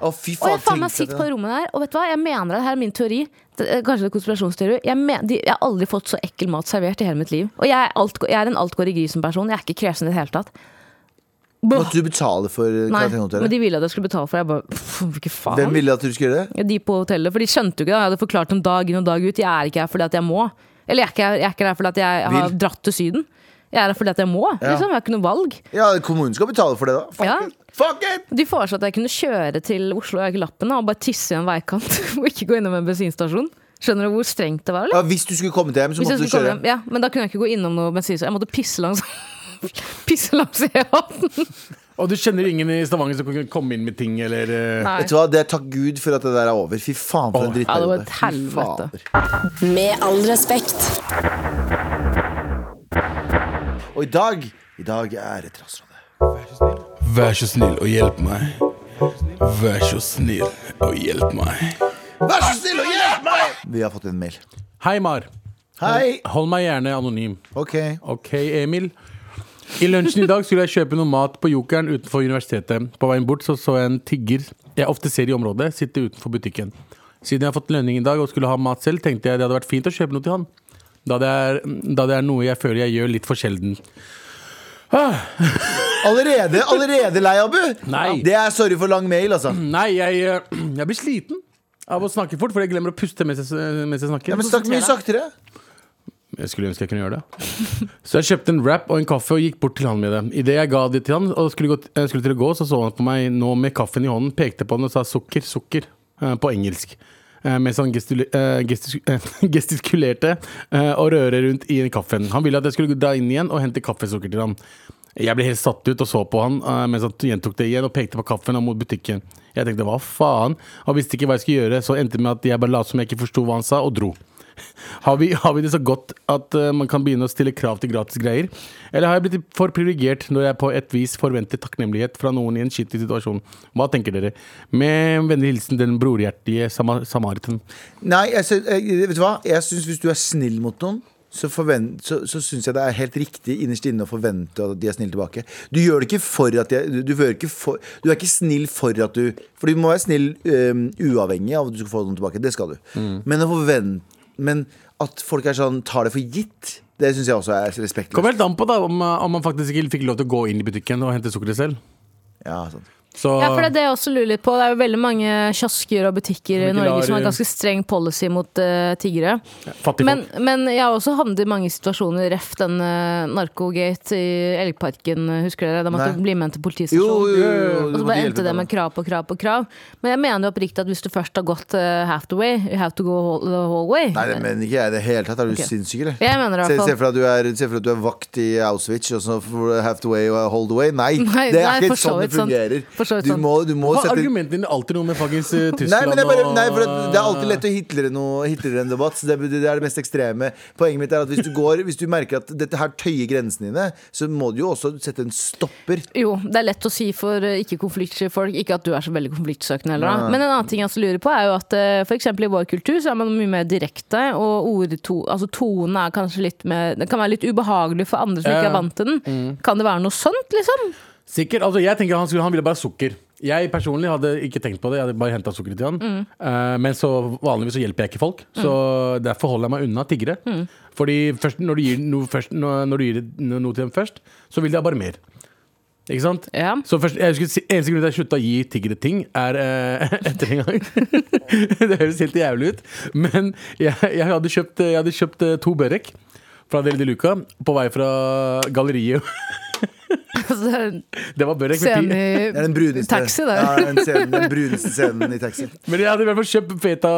Å, fy Og faen. jeg faen meg trengte sitter det. på det rommet der, og vet du hva, jeg mener det her er min teori. Det er Kanskje det er konspirasjonsteori. Jeg, men, de, jeg har aldri fått så ekkel mat servert i hele mitt liv. Og jeg er, alt, jeg er en altgård i grisen-person. Jeg er ikke kresen i det hele tatt. Bå. Måtte du betale for Nei, men karantenehotellet? de ville at jeg skulle betale for det. Jeg bare, pff, Hvilke Hvem faen? ville at du skulle gjøre det? De på hotellet. For de skjønte jo ikke det. Jeg hadde forklart dem dag inn og dag ut. Jeg er ikke her fordi at jeg må. Eller jeg er ikke, jeg er ikke her fordi at jeg har Vil. dratt til Syden. Jeg er her fordi at jeg må. Liksom. Jeg har ikke noe valg. Ja, kommunen skal betale for det, da. Fuck Ja. it! Fuck it! De foreslo at jeg kunne kjøre til Oslo og jeg har ikke lappen og bare tisse i en veikant. <laughs> Og ikke gå innom en bensinstasjon. Skjønner du hvor strengt det var? Ja, eller? hvis du skulle komme til hjem, så Hvis jeg måtte du skulle kjøre. komme hjem- ja, men da kunne jeg ikke gå innom noe bensinstasjon. Jeg måtte pisse langs <laughs> Pisse langs E18. Og du kjenner ingen i Stavanger som kan komme inn med ting, eller eh, Nei. Vet du hva, det Takk Gud for at det der er over. Fy faen, for en Åh. Ja, det var drittperiode. et Fy helvete. fader. Med all respekt. Og i dag I dag er det Trassrådet. Vær så snill og hjelp meg. Vær så snill og hjelp meg. Vær så snill og hjelp meg! Vi har fått en mail. Hei, Mar. Hei. Hold meg gjerne anonym. Ok. Ok, Emil. I lunsjen i dag skulle jeg kjøpe noe mat på Jokeren utenfor universitetet. På veien bort så, så jeg en tigger jeg ofte ser i området, sitte utenfor butikken. Siden jeg har fått lønning i dag og skulle ha mat selv, tenkte jeg det hadde vært fint å kjøpe noe til han. Da det er, da det er noe jeg føler jeg gjør litt for sjelden. Allerede, allerede lei, Abu? Nei. Det er sorry for lang mail, altså. Nei, jeg, eh, jeg blir sliten av å snakke fort, for jeg glemmer å puste mens jeg, mens jeg snakker. Ja, men snakk mye saktere. Jeg skulle ønske jeg kunne gjøre det. <laughs> Så jeg kjøpte en wrap og en kaffe og gikk bort til han med det. Idet jeg ga det til han og skulle, gå, eh, skulle til å gå, så så han på meg nå med kaffen i hånden, pekte på den og sa 'sukker, sukker' eh, på engelsk. Eh, Mens han gestule, eh, gestis, <laughs> eh, gestikulerte eh, og røret rundt i kaffen. Han ville at jeg skulle dra inn igjen og hente kaffesukker til han. Jeg ble helt satt ut og så på han eh, mens han gjentok det igjen og pekte på kaffen og mot butikken. Jeg tenkte hva faen, og visste ikke hva jeg skulle gjøre, så endte det med at jeg bare lot som jeg ikke forsto hva han sa, og dro. Har vi, har vi det så godt at eh, man kan begynne å stille krav til gratis greier? Eller har jeg blitt for privilegert når jeg på et vis forventer takknemlighet fra noen i en skittig situasjon? Hva tenker dere? Med vennlig hilsen den brorhjertige sama samariten. Nei, jeg, sy- eh, vet du hva? Jeg syns hvis du er snill mot noen, så, forvent- så, så syns jeg det er helt riktig innerst inne å forvente at de er snille tilbake. Du gjør det ikke for at de er- du, du, gjør ikke for, du er ikke snill for at du For du må være snill øhm, uavhengig av at du skal få noen tilbake. Det skal du. Men, å forvente, men at folk er sånn tar det for gitt, det syns jeg også er Kommer respektløst. helt an på da om, eh, om man faktisk ikke fikk lov til å gå inn i butikken og hente sukkeret selv. Ja, sant. Så Ja, for det er det jeg også lurer litt på. Det er jo veldig mange kiosker og butikker i ikke Norge lar- som har ganske streng policy mot eh, tiggere. fattig Men, folk. men jeg har også havnet i mange situasjoner, ref den eh, narkogate i Elgparken, eh, husker dere? Da måtte Nei. jeg bli med til Jo, jo, politistasjonen. jo, jo, Og du så måtte bare hjelpe endte det dem. med krav på krav på krav. Men jeg mener jo oppriktig at hvis du først har gått eh, half the way, you have to go all- the whole way. Nei, det mener ikke jeg i det hele tatt. Er du Ok. sinnssyk, eller? Jeg mener i Se, hvert se, fall for deg at du er, se for deg at du er vakt i Auschwitz og så have to way og hold away. Nei, <laughs> Nei, det er nei, for ikke så sånn det vidt sant. fungerer. For så vidt sånn. Du sant. må, du må Hva er sette argumentene dine alltid noe med fuckings eh, Nei, Tyskland men det er, bare, og nei, for det, det er alltid lett å hitlere noe Hitlere en debatt. så Det, det er det mest ekstreme. Poenget mitt er at hvis du, går, hvis du merker at dette her tøyer grensene dine, så må du jo også sette en stopper. Jo, det er lett å si for eh, ikke-konfliktsky folk. Ikke at du er så veldig konfliktsøkende heller. Nei, Da. nei. Men en annen ting jeg også lurer på, er jo at eh, for eksempel i vår kultur så er man mye mer direkte, og ordto, altså tonen er kanskje litt mer Den kan være litt ubehagelig for andre som Ja, ikke ja. er vant til den. Mm. Kan det være noe sånt, liksom? Sikkert. altså Jeg tenker han, skulle, han ville bare ha sukker. Jeg personlig hadde ikke tenkt på det. Jeg hadde bare hentet sukkeret til han. Mm. Eh, men så vanligvis så hjelper jeg ikke folk, så derfor holder jeg meg unna tiggere. Mm. Fordi først, når, du gir noe først, når, når du gir noe til dem først, så vil de ha bare mer. Ikke sant? Ja. Så først, jeg husker, si- Eneste grunn til at jeg slutta å gi tiggere ting, er eh, <laughs> etter en gang. det høres helt jævlig ut. Men jeg, jeg, hadde, kjøpt, jeg hadde kjøpt eh, to børek fra Deli de Luca på vei fra galleriet. <laughs> Altså, Det var børek med Scenen ti. i Det er den bruneste taxi, det. Ja, den, scenen, den bruneste scenen i taxi. Men jeg hadde i hvert fall kjøpt feta,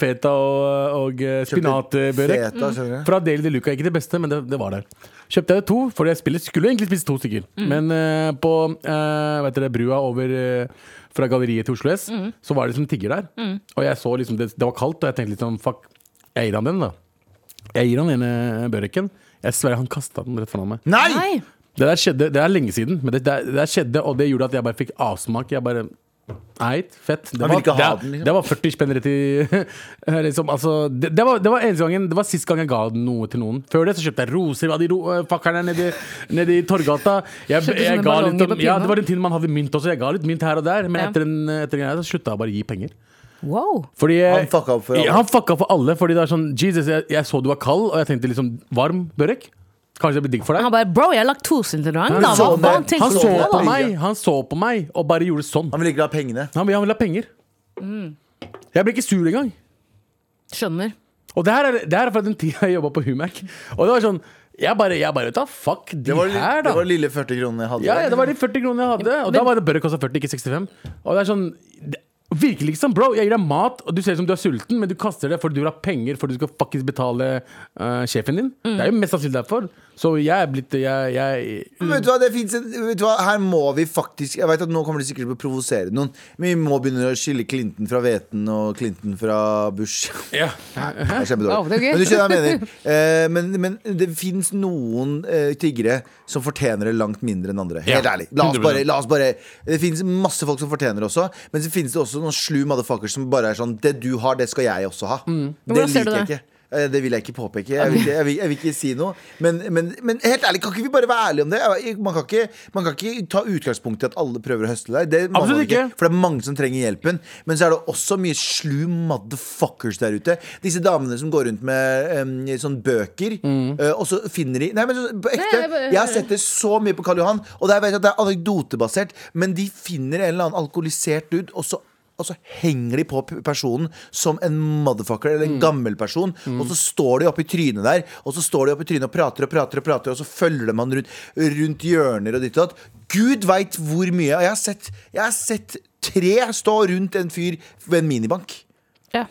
feta og, og eh, spinatbørek. Feta, skjønner du. Fra Deli de Luca. Ikke det beste, men det, det var der. Kjøpte jeg det to, fordi jeg spiller, skulle egentlig spise to stykker. Men eh, på eh, vet dere, brua over eh, fra galleriet til Oslo S, så var det liksom tigger der. Og jeg så liksom, det, det var kaldt, og jeg tenkte liksom fuck, jeg gir han den, da. Jeg gir han den ene børeken. Jeg sverger han kasta den rett foran meg. Nei! Nei! Det der skjedde, det er lenge siden, men det, det, det der skjedde, og det gjorde at jeg bare fikk avsmak. Jeg bare Eit, fett. Det Han var, ville ikke ha det, den, liksom. det var 40 spenn rett i <laughs> liksom, altså, det, det, var, det var eneste gangen Det var sist gang jeg ga noe til noen. Før det så kjøpte jeg roser av de ro, eh, fakkerne nede, nede i Torgata. Jeg, Kjøpte sånne ga litt sånn, ballonger på ja, pinnen. det var den tiden man hadde mynt også. Jeg ga litt mynt her og der, men Ja. etter en, etter en greie så slutta jeg bare å gi penger. Wow! Fordi, eh, Han fucka opp for alle. Ja, han fucka for alle. Fordi det er sånn Jesus, jeg, jeg så du var kald, og jeg tenkte liksom varm børek. Kanskje det blir digg for deg. Han bare Bro, jeg er laktoseintolerant, da! Hva så meg. faen Han tenker så du på? på da? meg Han så på meg og bare gjorde sånn. Han ville ikke ha pengene. Han, han ville ha penger. Jeg ble ikke sur engang. Skjønner. Og det her er, det her er fra den tida jeg jobba på Humac. Og det var sånn Jeg bare, jeg bare ta fuck de Det var, her, det da. var lille 40 kronene jeg hadde. ja, ja, det var der. de 40 kronene jeg hadde. Og da var det bør det koste 40, ikke 65. Og det er sånn det, Virkelig ikke sånn, bro. Jeg gir deg mat, og du ser ut som du er sulten, men du kaster det fordi du vil ha penger fordi du skal fuckings betale eh, sjefen din. Mm. Det er jo mest sannsynlig derfor. Så jeg er blitt Jeg, jeg Men Vet du hva, det finnes en, vet du hva, her må vi faktisk Jeg vet at nå kommer de sikkert til å provosere noen Men vi må begynne å skille Clinton fra Veten Og Clinton fra Bush <laughs> ja. Det er Ja, kjempedårlig. det er gøy. Men du skjønner hva jeg mener eh, men, men det finnes noen eh, tiggere Som fortjener det langt mindre enn andre Helt Ja, ærlig la oss, 100%. bare, la oss bare Det finnes masse folk som fortjener det også Men så finnes det også noen slu motherfuckers Som bare er sånn, det du har, det skal jeg også ha Det Mm. Hvordan ser du liker jeg det? ikke Eh, Det vil jeg ikke påpeke. Jeg vil ikke, jeg vil, jeg vil ikke si noe. Men, men, men helt ærlig, kan ikke vi bare være ærlige om det? Jeg- Man kan ikke, man kan ikke ta utgangspunkt i at alle prøver å høste deg. Det må man Absolutt ikke. For det er mange som trenger hjelpen. Men så er det også mye slu motherfuckers der ute. Disse damene som går rundt med em, sånn bøker, eh, og så finner de Nei, men så, på ekte. jeg bare- jeg har sett det så mye på Karl Johan, og der vet jeg at det er anekdotebasert, men de finner en eller annen alkoholisert dude, og så og så henger de på p- personen som en motherfucker eller Mm. en gammel person. Og så står de oppe i trynet der, og så står de oppe i trynet og prater og prater, og prater Og så følger de han rundt, rundt hjørner og ditt og datt. Gud veit hvor mye. Og jeg har sett, jeg har sett tre stå rundt en fyr ved en minibank. Ja.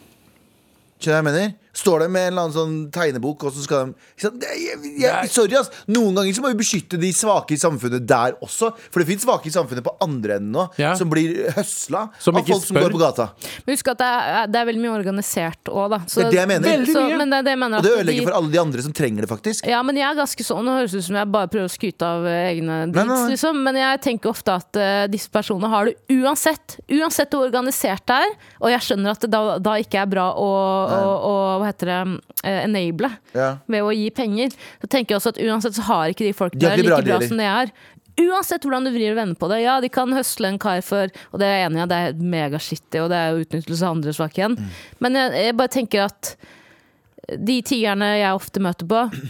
Skjønner du hva jeg mener? Står de med en eller annen sånn tegnebok, og så skal de Ikke sant? Det er- jeg, jeg, Sorry, ass. Noen ganger så må vi beskytte de svake i samfunnet der også. For det fins svake i samfunnet på andre enden nå, Ja. som blir høsla Som av ikke folk som spør. går på gata. Men husk at det er, det er veldig mye organisert òg, da. Så- Det er det jeg mener. Veldig Så, mye. men det er det jeg mener Og det at ødelegger de- for alle de andre som trenger det, faktisk. Ja, men jeg er ganske sånn Nå høres det ut som jeg bare prøver å skryte av eh, egne nei, deeds, nei. liksom. Men jeg tenker ofte at eh, disse personene har det uansett. Uansett hvor organisert det er. Og jeg skjønner at det da, da ikke er bra å, å, å hva heter det, eh, enable Ja. ved å gi penger. Så tenker jeg også at uansett så har ikke de folk De har der ikke like bra bra, dealer. som det er. Uansett hvordan du vrir og vender på det. Ja, de kan høsle en kar for Og det er jeg enig i, det er megashittig, og det er jo utnyttelse av andres svake Mm. igjen. Men jeg, jeg bare tenker at de tiggerne jeg ofte møter på,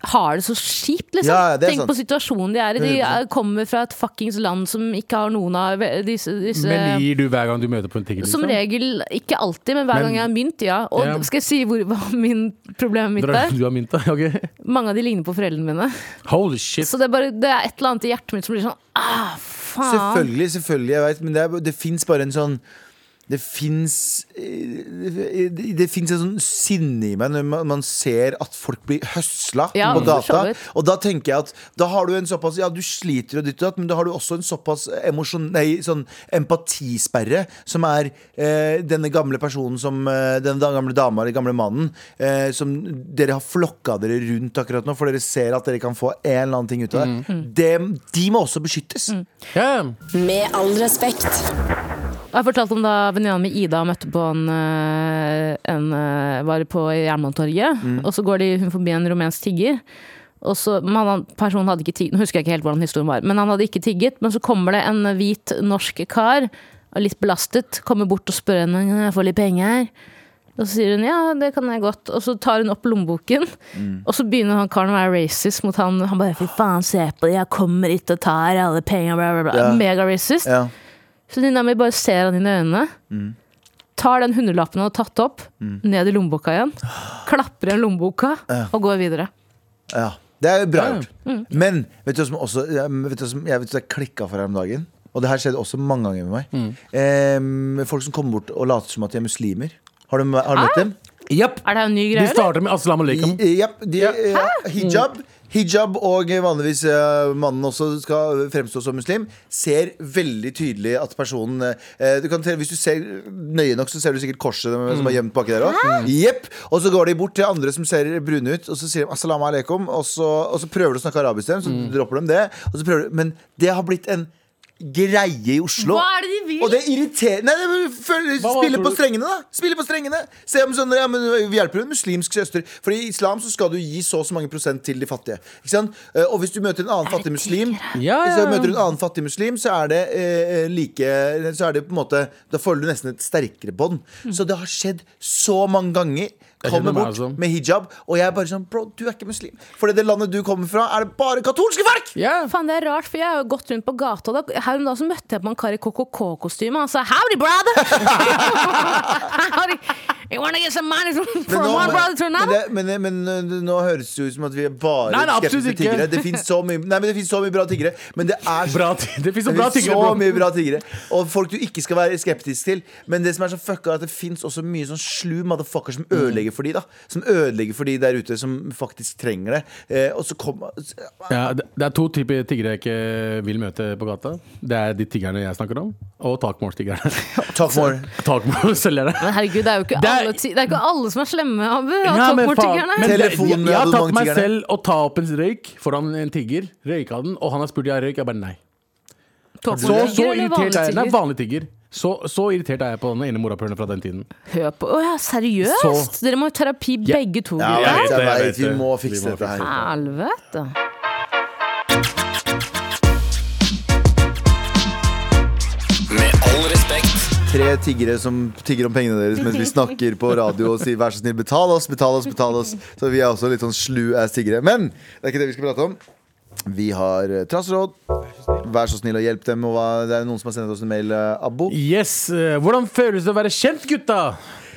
har det så kjipt, liksom. Ja, ja, det er Tenk sant. på situasjonen de er i. De er, 100%. kommer fra et fuckings land som ikke har noen av disse, disse Men gir du hver gang du møter på en liksom? tigger? som regel, ikke alltid, men hver Men- gang jeg har mynt, ja. Og Ja. skal jeg si hvor, hva min problem mitt Drar er? du av mynta? <laughs> Ok. Mange av de ligner på foreldrene mine. Holy shit. Så det er, bare, det er et eller annet i hjertet mitt som blir sånn ah, faen. Selvfølgelig, selvfølgelig, jeg vet, men det, er- det fins bare en sånn det fins eh, Det det finnes en sånn sinne i meg når man, man ser at folk blir høsla Ja, på for så data. vidt. Og da tenker jeg at da har du en såpass Ja, du sliter og ditt og datt, men da har du også en såpass emosjon... Nei, sånn empatisperre som er eh, denne gamle personen som eh, Denne da- gamle dama eller gamle mannen eh, som dere har flokka dere rundt akkurat nå, for dere ser at dere kan få en eller annen ting ut av det. Mm. Dem- de må også beskyttes. Ja. Med all respekt. Jeg har fortalt om da venninna mi Ida møtte på en, eh, en eh, Var på Jernbanetorget, og så går de, hun forbi en rumensk tigger. Og så, men han, personen hadde ikke tigget, nå husker jeg ikke helt hvordan historien var, men han hadde ikke tigget. Men så kommer det en hvit norsk kar, litt belastet, kommer bort og spør henne om jeg får litt penger. Og så sier hun ja, det kan jeg godt. Og så tar hun opp lommeboken. Og så begynner han karen å være racist mot han. Han bare fy faen, se på det, jeg kommer hit og tar alle pengene, bla, bla, bla. Ja. Mega-racist. Ja. Så Nina mi bare ser han inn i øynene, tar den hundrelappen han har tatt opp, ned i lommeboka igjen, klapper igjen lommeboka og går videre. Ja, det er bra gjort. Men vet du hva som også ja, men vet du hva som, Jeg vet det klikka for her om dagen. Og det her skjedde også mange ganger med meg. Eh, folk som kommer bort og later som at de er muslimer. Har du, har du møtt dem? Japp. Er det en ny De greie, eller? starter med aslam alaikum. I- Ja, de, eh, hijab. Hijab og vanligvis eh, mannen også skal fremstå som muslim. Ser veldig tydelig at personen eh, du kan, se- Hvis du ser nøye nok, så ser du sikkert korset dem som er gjemt baki der òg. Jepp. Og så går de bort til andre som ser brune ut, og så sier de 'assalamu alaikum', og så, og så prøver de å snakke arabisk til dem, så dropper de det. Og så prøver de, men det har blitt en greie i Oslo. Hva er det de vil? Og det irriterer Nei, det er- føl- Hva- hva spille tror på du- strengene, da! Spille på strengene Se om sånn, ja, men Vi hjelper en muslimsk søster. For i islam så skal du gi så og så mange prosent til de fattige. Ikke sant? Eh, Og hvis du møter en annen fattig muslim, Ja, ja, Så ja. møter du en annen fattig muslim, så er det eh, like Så er det på en måte Da føler du nesten et sterkere bånd. Så det har skjedd så mange har ganger. skjedd Kommer med meg altså. bort også. med hijab, og jeg er bare sånn Bro, du er ikke muslim. For i det landet du kommer fra, er det bare katolske folk! Ja. Faen, det er rart, for jeg har jo gått rundt på gata, og da, her om dagen så møtte jeg på en kar i KKK-kostyme. Han sa 'howdy, <laughs> brother'! You wanna get some money from Men nå- one brother to men, another? det, men, det- men, øh, nå høres det ut som at vi er bare Nei, nei, absolutt skeptiske til ikke. tiggere. Det finnes så, mye- nei, men det finnes så mye bra tiggere, men det er så- Bra ti- det finnes så bra finnes tiggere, så bro. mye bra tiggere. Og folk du ikke skal være skeptisk til. Men det som er så fucka, er at det finnes også mye sånn slu motherfucker som ødelegger for de da Som ødelegger for de der ute som faktisk trenger det. Eh, og så kommer Ja, det det er to typer tiggere jeg ikke vil møte på gata. Det er de tiggerne jeg snakker om, og takmorstiggerne. <laughs> Talk more. Takmorselgere. Men herregud, det er jo ikke, Det er- alle, ti- det er ikke alle som er slemme, Abu. Ja, Ja, men faen, men det- jeg, Telefonen jeg har hadde tatt mange meg tiggerne. selv å ta opp en røyk foran en tigger, røyka den, og han har spurt om jeg har røyk. Jeg bare nei. Så, så irritert er jeg. Nei, vanlig tigger. Så, så irritert er jeg på den ene morapuleren fra den tiden. Hør på, Å ja, seriøst? Så- Dere må jo terapi begge to. Ja, gutter. jeg vet, det, jeg jeg vet vet, vi det. må Vi fikse må dette her. Helvete. Med all respekt. Tre tiggere som tigger om pengene deres mens vi snakker på radio og sier vær så snill, betal oss, betal oss, betal oss. Så vi er også litt sånn slu ass tiggere. Men det er ikke det vi skal prate om. Vi har eh, trassråd. Vær så snill og hjelp dem. Og hva, det er noen som har sendt oss en mail, eh, Abbo. Yes, eh, Hvordan føles det å være kjent, gutta?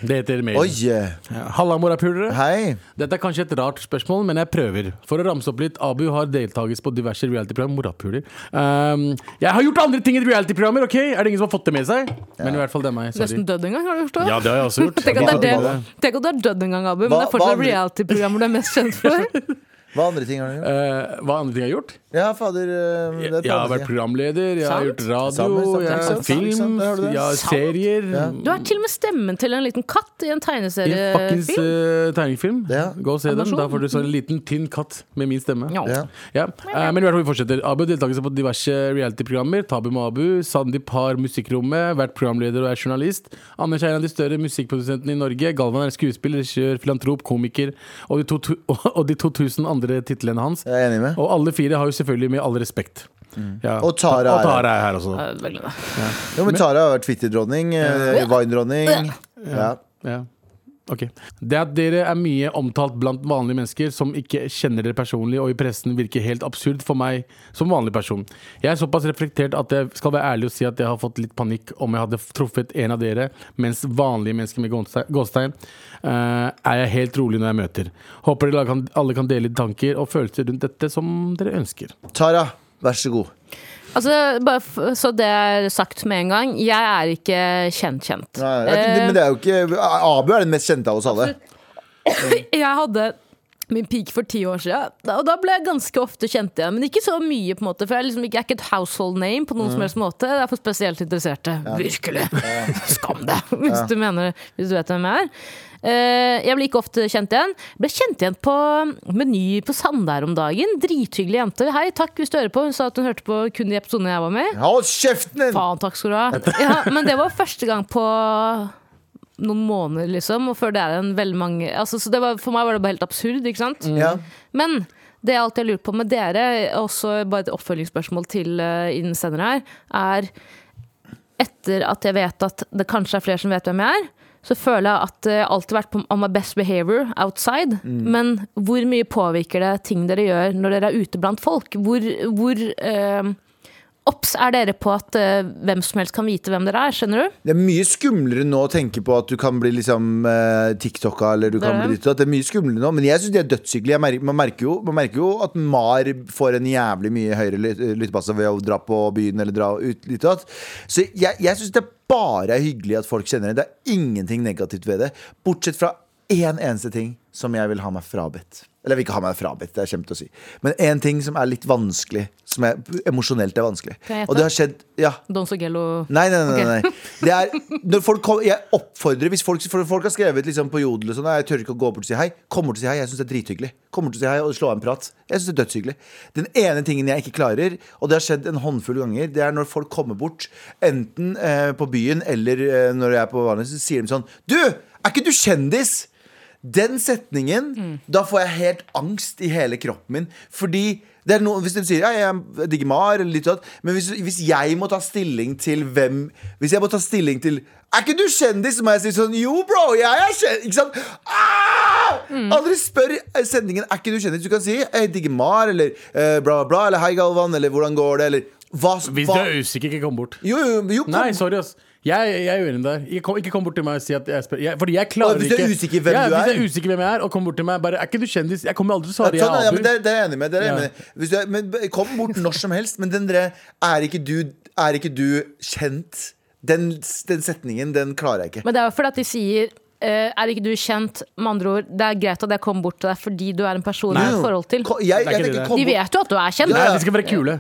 Det heter mailen. Oi! eh, Ja, Halla, morapulere. Hei. Dette er kanskje et rart spørsmål, men jeg prøver. For å ramse opp litt, Abu har deltakelse på diverse reality-program. Morapuler. Um, jeg har gjort andre ting i reality-programmer, ok? Er det ingen som har fått det med seg? Men i hvert fall det er meg. Sorry. Nesten dødd en gang, har du gjort det? Ja, det har jeg også gjort. <laughs> Tenk at, det er det. Hva- Tenk at du er dødd en gang, Abu, men Hva- det er fortsatt hva- <laughs> reality-programmer du er mest kjent for. Hva andre ting har du gjort? Eh, hva andre ting jeg har gjort? Ja, fader. eh, Det er Jeg har vært siden. programleder, jeg har Sant. gjort radio, Sammen, sant, jeg har sant, sant, sant, film, der har du det. jeg har Sant. serier. Du er til og med stemmen til en liten katt I i en en fuckings tegneseriefilm. eh, tegnefilm. Ja. Gå og se den. Animasjon. Da får du så en liten, tynn katt med min stemme. Ja. Ja. Ja, eh, men i hvert fall vi fortsetter. Abu har deltakelse på diverse reality-programmer. Tabu Mabu. Sandeep har Musikkrommet, vært programleder og er journalist. Anders er en av de større musikkprodusentene i Norge. Galvan er skuespiller, regissør, filantrop, komiker og de, to, <laughs> og de 2000 andre titlene hans. Jeg er enig med. Og alle fire har jo selvfølgelig med all respekt. Ja. Mm. Og Tara er og Tara er her også. Ja, det er veldig bra. Jo, men Tara har vært Twitter-dronning. eh, Vine-dronning. Ja. Ja. Ok. Det at dere er mye omtalt blant vanlige mennesker som ikke kjenner dere personlig og i pressen, virker helt absurd for meg som vanlig person. Jeg er såpass reflektert at jeg skal være ærlig og si at jeg har fått litt panikk om jeg hadde truffet en av dere, mens vanlige mennesker med gåste- gåstein eh, er jeg helt rolig når jeg møter. Håper dere kan- alle kan dele tanker og følelser rundt dette som dere ønsker. Tara, vær så god. Altså, bare f så det er sagt med en gang. Jeg er ikke kjent-kjent. Nei, det er Eh. ikke, men det er jo ikke Abu er den mest kjente av oss alle. Jeg hadde min peak for ti år siden, da- og da ble jeg ganske ofte kjent igjen. Men ikke så mye, på en måte for jeg, er liksom, ikke- jeg er ikke et household name på noen som helst måte. Det er for spesielt interesserte. Virkelig! <laughs> Skam deg, hvis, du mener, hvis du vet hvem jeg er. Eh, jeg blir ikke ofte kjent igjen. Ble kjent igjen på Meny på Sandær om dagen. Drithyggelig jente. Hei, takk hvis du hører på. Hun sa at hun hørte på kun de episodene jeg var med i. Hold kjeften din! Faen, takk skal du ha. Ja, men det var første gang på noen måneder, liksom. Og før det er en veldig mange altså, så det var, For meg var det bare helt absurd, ikke sant? Ja. Men det jeg alltid har lurt på med dere, og også bare et oppfølgingsspørsmål til eh, innsender her, er etter at jeg vet at det kanskje er flere som vet hvem jeg er, så føler jeg at jeg har alltid vært på on my best behavior outside. Men hvor mye påvirker det ting dere gjør når dere er ute blant folk? Hvor, hvor eh, obs er dere på at eh, hvem som helst kan vite hvem dere er? Skjønner du? Det er mye skumlere nå å tenke på at du kan bli liksom eh, TikToka eller du Det er kan bli det. ditt og datt. Det er mye skumlere nå, men jeg syns de er dødshyggelig. Jeg mer- Man, merker jo- man merker jo at Mar får en jævlig mye høyere lyt- lyttepasse ved å dra på byen eller dra ut litt og datt. Så jeg, jeg syns det bare er hyggelig at folk kjenner det. Det er ingenting negativt ved det. Bortsett fra én eneste ting som jeg vil ha meg frabedt. Eller jeg vil ikke ha meg frabedt, det er kjempe å si. Men én ting som er litt vanskelig, som er emosjonelt er vanskelig. Kan jeg gjette? Og det har skjedd Ja. Don Sogello Nei, nei, nei, nei, nei. Det er, når folk kom, Jeg oppfordrer Hvis folk, for folk har skrevet liksom på jodel og sånn «Nei, Jeg tør ikke å gå bort og si hei Kommer til å si hei, jeg synes det er drithyggelig Kommer til å si hei og slå av en prat Jeg synes det er dødshyggelig Den ene tingen jeg ikke klarer Og det har skjedd en håndfull ganger Det er når folk kommer bort Enten eh, på byen eller eh, når jeg er på vanlig Så sier de sånn Du, er ikke du kjendis? Den setningen, da får jeg helt angst i hele kroppen min. Fordi det er noe, Hvis de sier ja, jeg digger Mar, eller litt sånn, men hvis, hvis jeg må ta stilling til hvem Hvis jeg må ta stilling til Er ikke du kjendis? Så må jeg si sånn Jo, bro, jeg er kjendis. Ikke sant? Ah! Aldri spør eh, sendingen Er ikke du kjendis. Du kan si jeg digger Mar, eller eh, bla, bla, bla, eller hei, Galvan, eller hvordan går det, eller hva, Hvis hva? du er usikker, ikke kom bort. Jo, jo, jo, kom. Nei, sorry, ass. Jeg, jeg er uenig der. Ikke kom, ikke kom bort til meg og si at jeg spør. Jeg, fordi jeg Å, klarer hvis du er ikke usikker hvem ja, du Hvis jeg er. er usikker hvem jeg er, og kom bort til meg bare Er ikke du kjendis? Jeg kommer aldri til å svare Ja, sånn, jeg ja, er men det, Abu. det er jeg enig med. Det er jeg Ja. enig med. Hvis du er, men b- kom bort når som helst, men den der er ikke du, er ikke du kjent? Den, den setningen, den klarer jeg ikke. Men det er jo fordi at de sier eh, Er ikke du kjent? Med andre ord, det er greit at jeg kom bort til deg fordi du er en person jeg har et forhold til. Ko- Jeg, Det er jeg ikke tenker, det. kom De bort. vet jo at du er kjent. sånn, Nei, de skal være kule.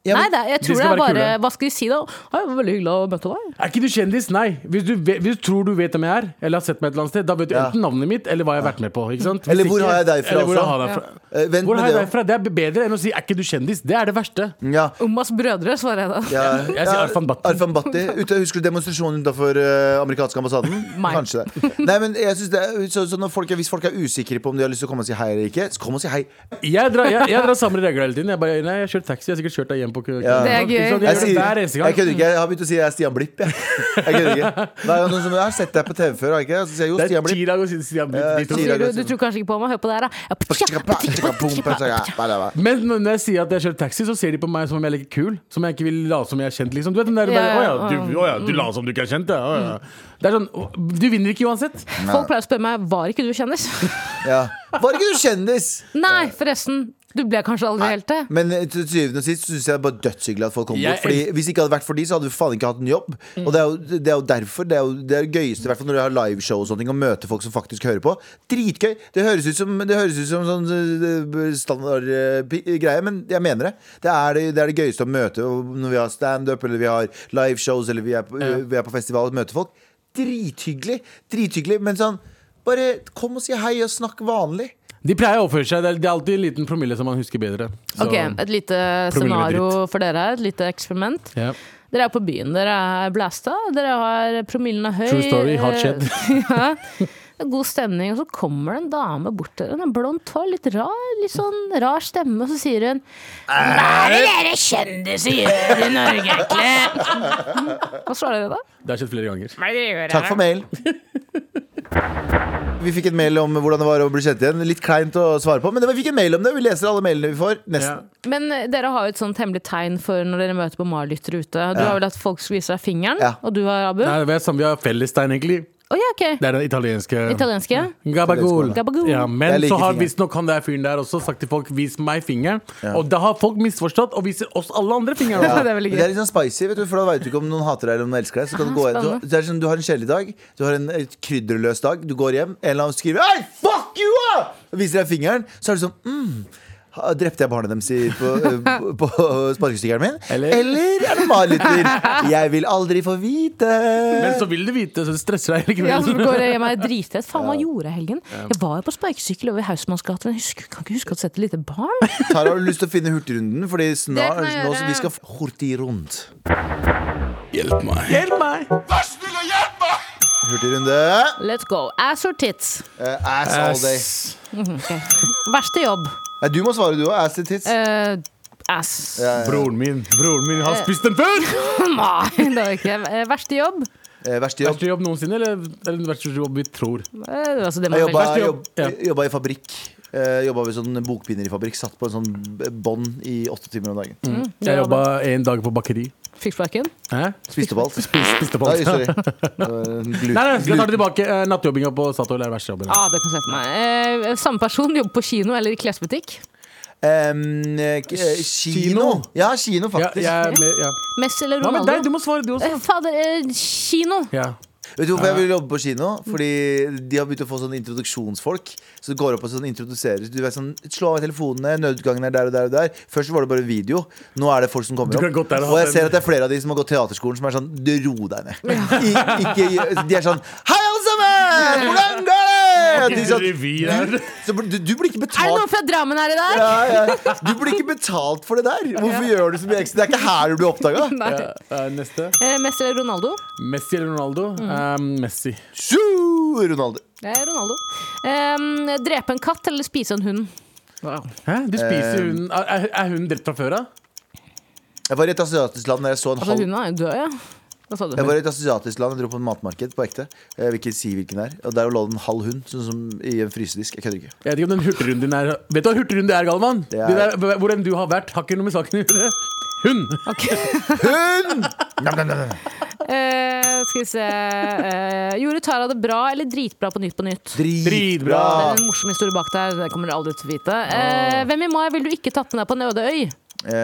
Ja, Nei, men, det, er- jeg de tror det skal er være bare kule. Hva skal de si da? «Å, det var veldig hyggelig å møte deg. Er ikke du kjendis? Nei. Hvis du, vet, hvis du tror du vet hvem jeg er, eller har sett meg et eller annet sted, da vet du Ja. enten navnet mitt eller hva jeg har vært med på. Ikke sant? Hvis Eller hvor ikke- har jeg deg fra eller hvor også? jeg har deg fra. Eh, vent Hvor med har jeg det, deg fra? Det er bedre enn å si 'er ikke du kjendis'? Det er det verste. ja. Omas brødre, svarer jeg da. Ja, Jeg sier Arfan Bhatti. Arfan Bhatti. Ute, husker du demonstrasjonen utenfor uh, amerikanske ambassaden? <laughs> Nei. Kanskje det. Nei, men jeg synes det er, så, så når folk, er- Hvis folk er usikre på om de har lyst til å komme og si hei eller ikke, så kom og si hei. Jeg drar, jeg, jeg drar samme regler hele tiden. Jeg bare, nei, jeg har kjørt taxi, jeg har sikkert kjørt deg hjem på kø. Ja. Det er gøy. Ikke sant? Jeg gjør Jeg, det sier, hver eneste gang. jeg kødder ikke, jeg har begynt å si jeg er Stian Blipp. Jeg, jeg kødder <laughs> ikke. Det er jo noen som jeg har sett deg på TV før, har jeg ikke? Så sier jeg jo Det er Stian Blipp. Chirag og Stian Blipp. Ja, de to. Chirag. Sier du, du tror kanskje ikke på meg? Hør på det her, da. Men når når jeg sier at jeg kjører taxi, så ser de på meg som om jeg er litt kul. Som om jeg ikke vil late som jeg er kjent, liksom. Du vet den der, Ja, bare, ja, Mm. «Å ja, du, å ja, du later som du ikke er kjent, ja. Å ja. Det er sånn, «Å, du vinner ikke uansett. Folk pleier å spørre meg var ikke du kjendis. <laughs> Ja. Var ikke du kjendis? Nei, forresten. Du ble kanskje aldri helt det? Men eh, til syvende og sist syns jeg det er bare dødshyggelig at folk kommer Jeg bort. Fordi Hvis det ikke hadde vært for de, så hadde du faen ikke hatt en jobb. Og det er, jo, det er jo derfor. Det er jo det er det gøyeste, i hvert fall når du har liveshow og sånne ting, og møter folk som faktisk hører på. Dritgøy! Det høres ut som, det høres ut som sånn eh, standard eh, pi- greie, men jeg mener det. Det er det, det er det gøyeste å møte og når vi har standup, eller vi har liveshows, eller vi er på, vi er på festival og møter folk. Drithyggelig! Drithyggelig, men sånn Bare kom og si hei, og snakk vanlig. De pleier å oppføre seg. Det er, det er alltid en liten promille som man husker bedre. Så- Ok, et lite scenario for dere her. Et lite eksperiment. Ja. Dere er på byen, dere er blasta, dere har promillen er høy. True story, hard eh, <laughs> shed. ja. Det er God stemning, og så kommer det en dame bort til dere. En blondt hår, litt rar, litt sånn rar stemme, og så sier hun Eh. Hva er det dere kjendiser gjør i Norge, egentlig? Hva svarer dere da? Det har skjedd flere ganger. Takk for mail. Vi fikk en mail om hvordan det var å bli kjent igjen. Litt kleint å svare på, men vi fikk en mail om det. Vi leser alle mailene vi får. Ja. Nesten. Men eh, dere har jo et sånt hemmelig tegn for når dere møter på Marlytter ute. Du har vel at folk skal vise deg fingeren, Ja. og du har Abu? Å Nei, det er samme, vi har fellestegn, egentlig. ja, ok. Det er den italienske Italienske? Gabagol. Gabagol. Ja, Jeg men liker så har fingeren. visstnok han der fyren der også sagt til folk 'vis meg fingeren'. Og da har folk misforstått og viser oss alle andre <laughs> fingeren. Ja. også. det er veldig Men det er litt sånn spicy, vet du, for da vet du ikke om noen hater deg eller om noen elsker deg. Så kan du, gå, du, spennende. det er sånn, du har en kjedelig dag, du har en eh, krydderløs dag, du går hjem, en eller annen skriver Hei, fuck you! ah!» Og viser deg fingeren, så er du sånn mm, ha- Drepte jeg barnet deres i- på, eh, på, på sparkestykkeren min? Eller- Eller, er det <laughs> Marliter? Jeg vil aldri få vite. Men så vil du vite, så det stresser deg likevel. Ja, så går jeg hjem og er dritredd. Faen, hva gjorde jeg i helgen? Jeg var jo på sparkesykkel over Hausmannsgata, men jeg husker, kan ikke huske å ha sett et lite barn. Tara, har du lyst til å finne Hurtigrunden? Fordi snart Det kan jeg nå gjøre. så vi skal f- hurtig rundt. Hjelp meg. Hurtigrunde. Let's go. Ass or tits? Eh, ass all day. Ass. Verste jobb? Nei, du må svare, du òg. Ass Eh, and tits. Eh, ass. Ja, ja. Broren min broren min har spist den <laughs> før! <laughs> Nei, det var ikke Eh, Verste jobb? Eh, verste jobb. Verste jobb noensinne, eller, eller den verste jobb vi tror? Eh, altså, det må Jeg jobba, Verste jobb. jobb, jobba i fabrikk. Eh, jobba ved sånn bokbinderifabrikk. Satt på en sånn b- bånd i åtte timer om dagen. Mm. Jeg jobba en dag på bakeri. Fikk sparken? Hæ? Spiste opp alt. Spiste på Nei, alt. <laughs> sorry. Det var en glu- Nei, nei, jeg tar glu- det tilbake. Eh, Nattjobbinga på Statoil er verste jobben. Ja, ah, det kan jeg se for meg. Eh, samme person jobber på kino eller i klesbutikk. Em, eh, k- eh, Kino. Kino. Ja, kino, Ja, faktisk. jeg er med, ja. Messi eller Hva med Ronaldo? deg? Du må svare, du Eh, også. fader, eh, kino! Ja. Vet du hvorfor jeg vil jobbe på kino? Fordi de har begynt å få sånne introduksjonsfolk. Så du går opp og sånn introduserer Du vet sånn, Slå av telefonene, nødutgangen er der og der og der. Først var det bare video. Nå er det folk som kommer Du kan opp. godt der og og jeg ha ser den. at det er flere av de som har gått teaterskolen, som er sånn Du ro deg ned. I, ikke, gjø- de er sånn Hei, alle sammen! Hvordan går det? De er sånn, Revy der. du, så, blir- du, du blir ikke Er det noen betalt. fra Drammen her i dag? Ja, ja. Du blir ikke betalt for det der. Hvorfor gjør du så mye ekstra? Det er ikke her du blir oppdaga. Nei. Ja, eh, Neste. Eh, Messi eller Ronaldo? Messi eller Ronaldo? Mm. Eh, Messi. Ronaldo. Det er Ronaldo. Eh, drepe en katt eller spise en hund? Hæ? Du spiser Eh, hunden Er, er- er hunden drept fra før av? Jeg var i et asiatisk land der jeg så en Altså, halv hunden er jo død, ja. Hva sa du? Jeg var i et asiatisk land, jeg dro på en matmarked på ekte. Jeg vil ikke si hvilken det er. Og der lå det en halv hund sånn som i en frysedisk. Jeg kødder ikke. Jeg vet ikke om den hurtigrunden din er Vet du hva hurtigrunde er, Galvan? Det er- Det der, hvor- hvor enn du har vært, har ikke noe med saken å gjøre. Hund! Hund! Nam, nam, nam, nam. <laughs> Eh, skal vi se eh, Gjorde Tara det bra eller dritbra på Nytt på Nytt? Det Dritbra. er en morsom historie bak der, det kommer dere aldri til å vite. Eh, hvem i mai ville du ikke tatt med deg på en øde øy? Eh,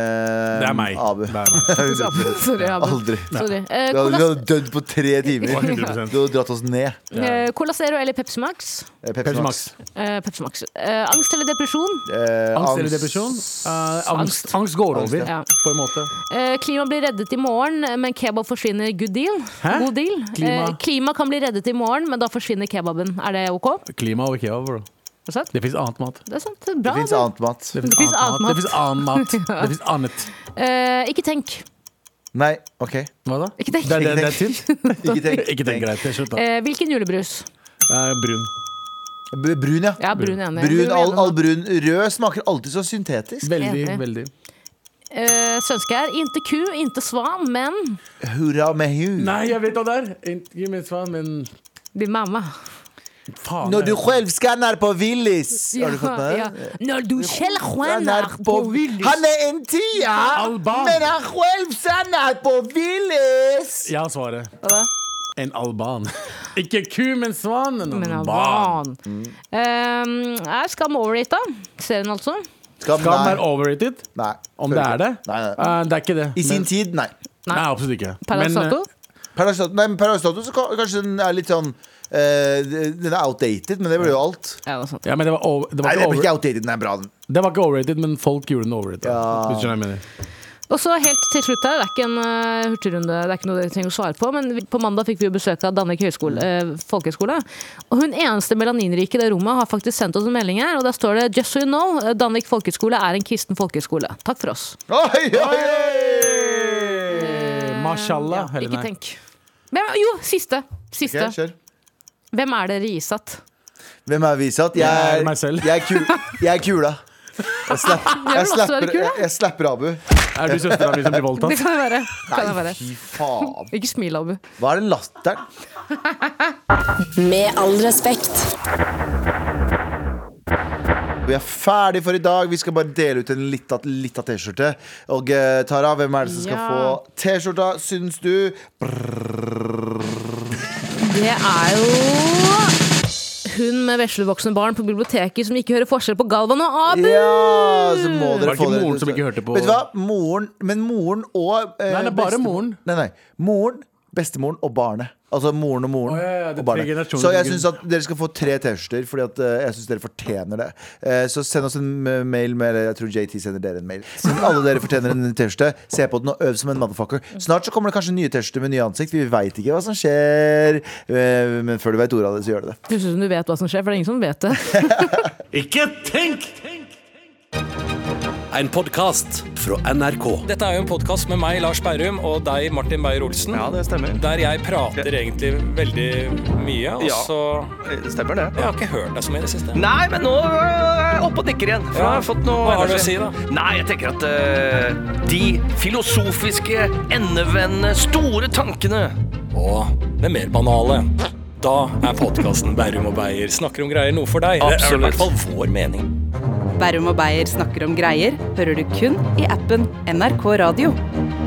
Det er meg. Abu. Det er meg. Sorry, Abu. Aldri. Sorry. Eh, Du hadde, du Cola- hadde dødd på tre timer. 100%. Du hadde dratt oss ned. eh, Cola Zero eller Pepsi Max? Eh, Pepsi Max. Eh, Pepsi Max. Eh, angst eller depresjon? Eh, Angst eller depresjon? Eh, angst. angst går over, ja. på en måte. Eh, klima blir reddet i morgen, men kebab forsvinner. Good deal. Hæ? God deal. Klima. Eh, klima kan bli reddet i morgen, men da forsvinner kebaben. Er det OK? Klima og kebab, bro. Det er sant. Det fins annet mat. Det er sant. Det er Bra. Det fins Abu. annet mat. Det Det finnes annet mat. Det finnes annen mat. Det finnes annet. Eh, ikke tenk. Nei, OK. Hva da? Ikke tenk. Det, det, det er tynt. Ikke tenk. <laughs> Ikke tenk greit. det er Slutt, da. Eh, hvilken julebrus? Eh, brun. B- Brun, ja. Ja, brun enig. Brun, all, enig. all brun. Rød smaker alltid så syntetisk. Veldig, Enig. veldig. Eh, svenske er inte ku, inte svan, men Hurra med hu. Nei, jeg vet hva det er. Ikke minst hva, men din mamma. faen. Når du jeg- selv skanner på Willis. Har du fått med Ja, det? ja. Når du selv Han er skjønner på på Willys. Han er en tier, Alban. men han selv sender på Willis! Jeg har svaret. Hva da? En alban. <laughs> Ikke ku, men svan. En Men alban. Mm. Ehm, alban. Eh, er Skam overrated? Serien altså. Skam, Skam er nei. overrated. nei. Om det er det? Nei, nei. Eh, det er ikke det. I sin Men- tid, nei. Nei, absolutt ikke. Per Men, eh, dato? Per dags dato- nei, men per dags dato så ka- kanskje den er litt sånn eh, Den er outdated, men det blir jo alt. Ja, det er sant. eh, Ja, men det var, over, det, Nei, var det ikke blir over, ikke outdated, den er bra. den. det var ikke overrated, men folk gjorde den overrated. Ja. Hvis du skjønner hva jeg mener. Og så helt til slutt her, det er ikke en eh, hurtigrunde, det er ikke noe dere trenger å svare på, men vi, på mandag fikk vi jo besøk av Danvik Høyskole, eh, folkehøyskole, og hun eneste melaninrike i det rommet har faktisk sendt oss en melding her, og der står det «Just so you know, eh, Danvik folkehøyskole er en kristen folkehøyskole». Takk for oss. Oi, oi, Eh, Mashallah. Ja, eller ikke nei? tenk. Hvem, jo, siste. Siste. Ok, kjør. Hvem er dere isatt? Hvem er visatt? Jeg er meg selv. Jeg er, kul, jeg er kula. <laughs> Jeg, slapp, jeg, også slapper, være kul, da. jeg, jeg slapper Abu. Er du søstera mi som blir Det voldtatt? kan det være. Kan det Nei, være. fy faen. Ikke smil, Abu. Hva er den latteren? Med all respekt. Vi er ferdig for i dag. Vi skal bare dele ut en lita lita T-skjorte. Og eh, Tara, hvem er det som skal Ja. få T-skjorta, syns du? Det er jo hun med veslevoksen barn på biblioteket som ikke hører forskjell på Galvan og Abu. Ja, så må Var dere det få ikke dere- moren som ikke hørte på- Vet du hva? Moren, men moren og eh, Nei, det er bare bestemor- moren. Nei, nei. Moren, bestemoren og barnet. Altså moren og moren Å, ja, ja, det er og tre barnet. generasjoner Så jeg som syns at dere skal få tre T-skjorter, Fordi at eh, jeg syns dere fortjener det. Eh, så send oss en eh, mail med eller Jeg tror JT sender dere en mail. <laughs> Siden alle dere fortjener en T-skjorte, se på den og øv som en motherfucker. Snart så kommer det kanskje nye T-skjorter med nye ansikt. Vi veit ikke hva som skjer. Eh, men før du veit ordet av det, så gjør det det. Høres ut som du vet hva som skjer, for det er ingen som vet det. Ikke tenk! En podkast fra NRK. Dette er jo en podkast med meg, Lars Berrum, og deg, Martin Beyer-Olsen. Ja, det stemmer. Der jeg prater egentlig veldig mye, og Ja. så Eh, Stemmer det. Jeg har ikke hørt deg så mye i det siste. Nei, men nå er jeg oppe og nikker igjen. For Ja. jeg har fått noe Hva har du å energi. si, da? Nei, jeg tenker at eh, de filosofiske, endevendende, store tankene Og det mer banale. Da er podkasten Berrum og Beyer snakker om greier noe for deg. Det er i Absolutt. hvert fall vår mening. Berrum og Beyer snakker om greier hører du kun i appen NRK Radio.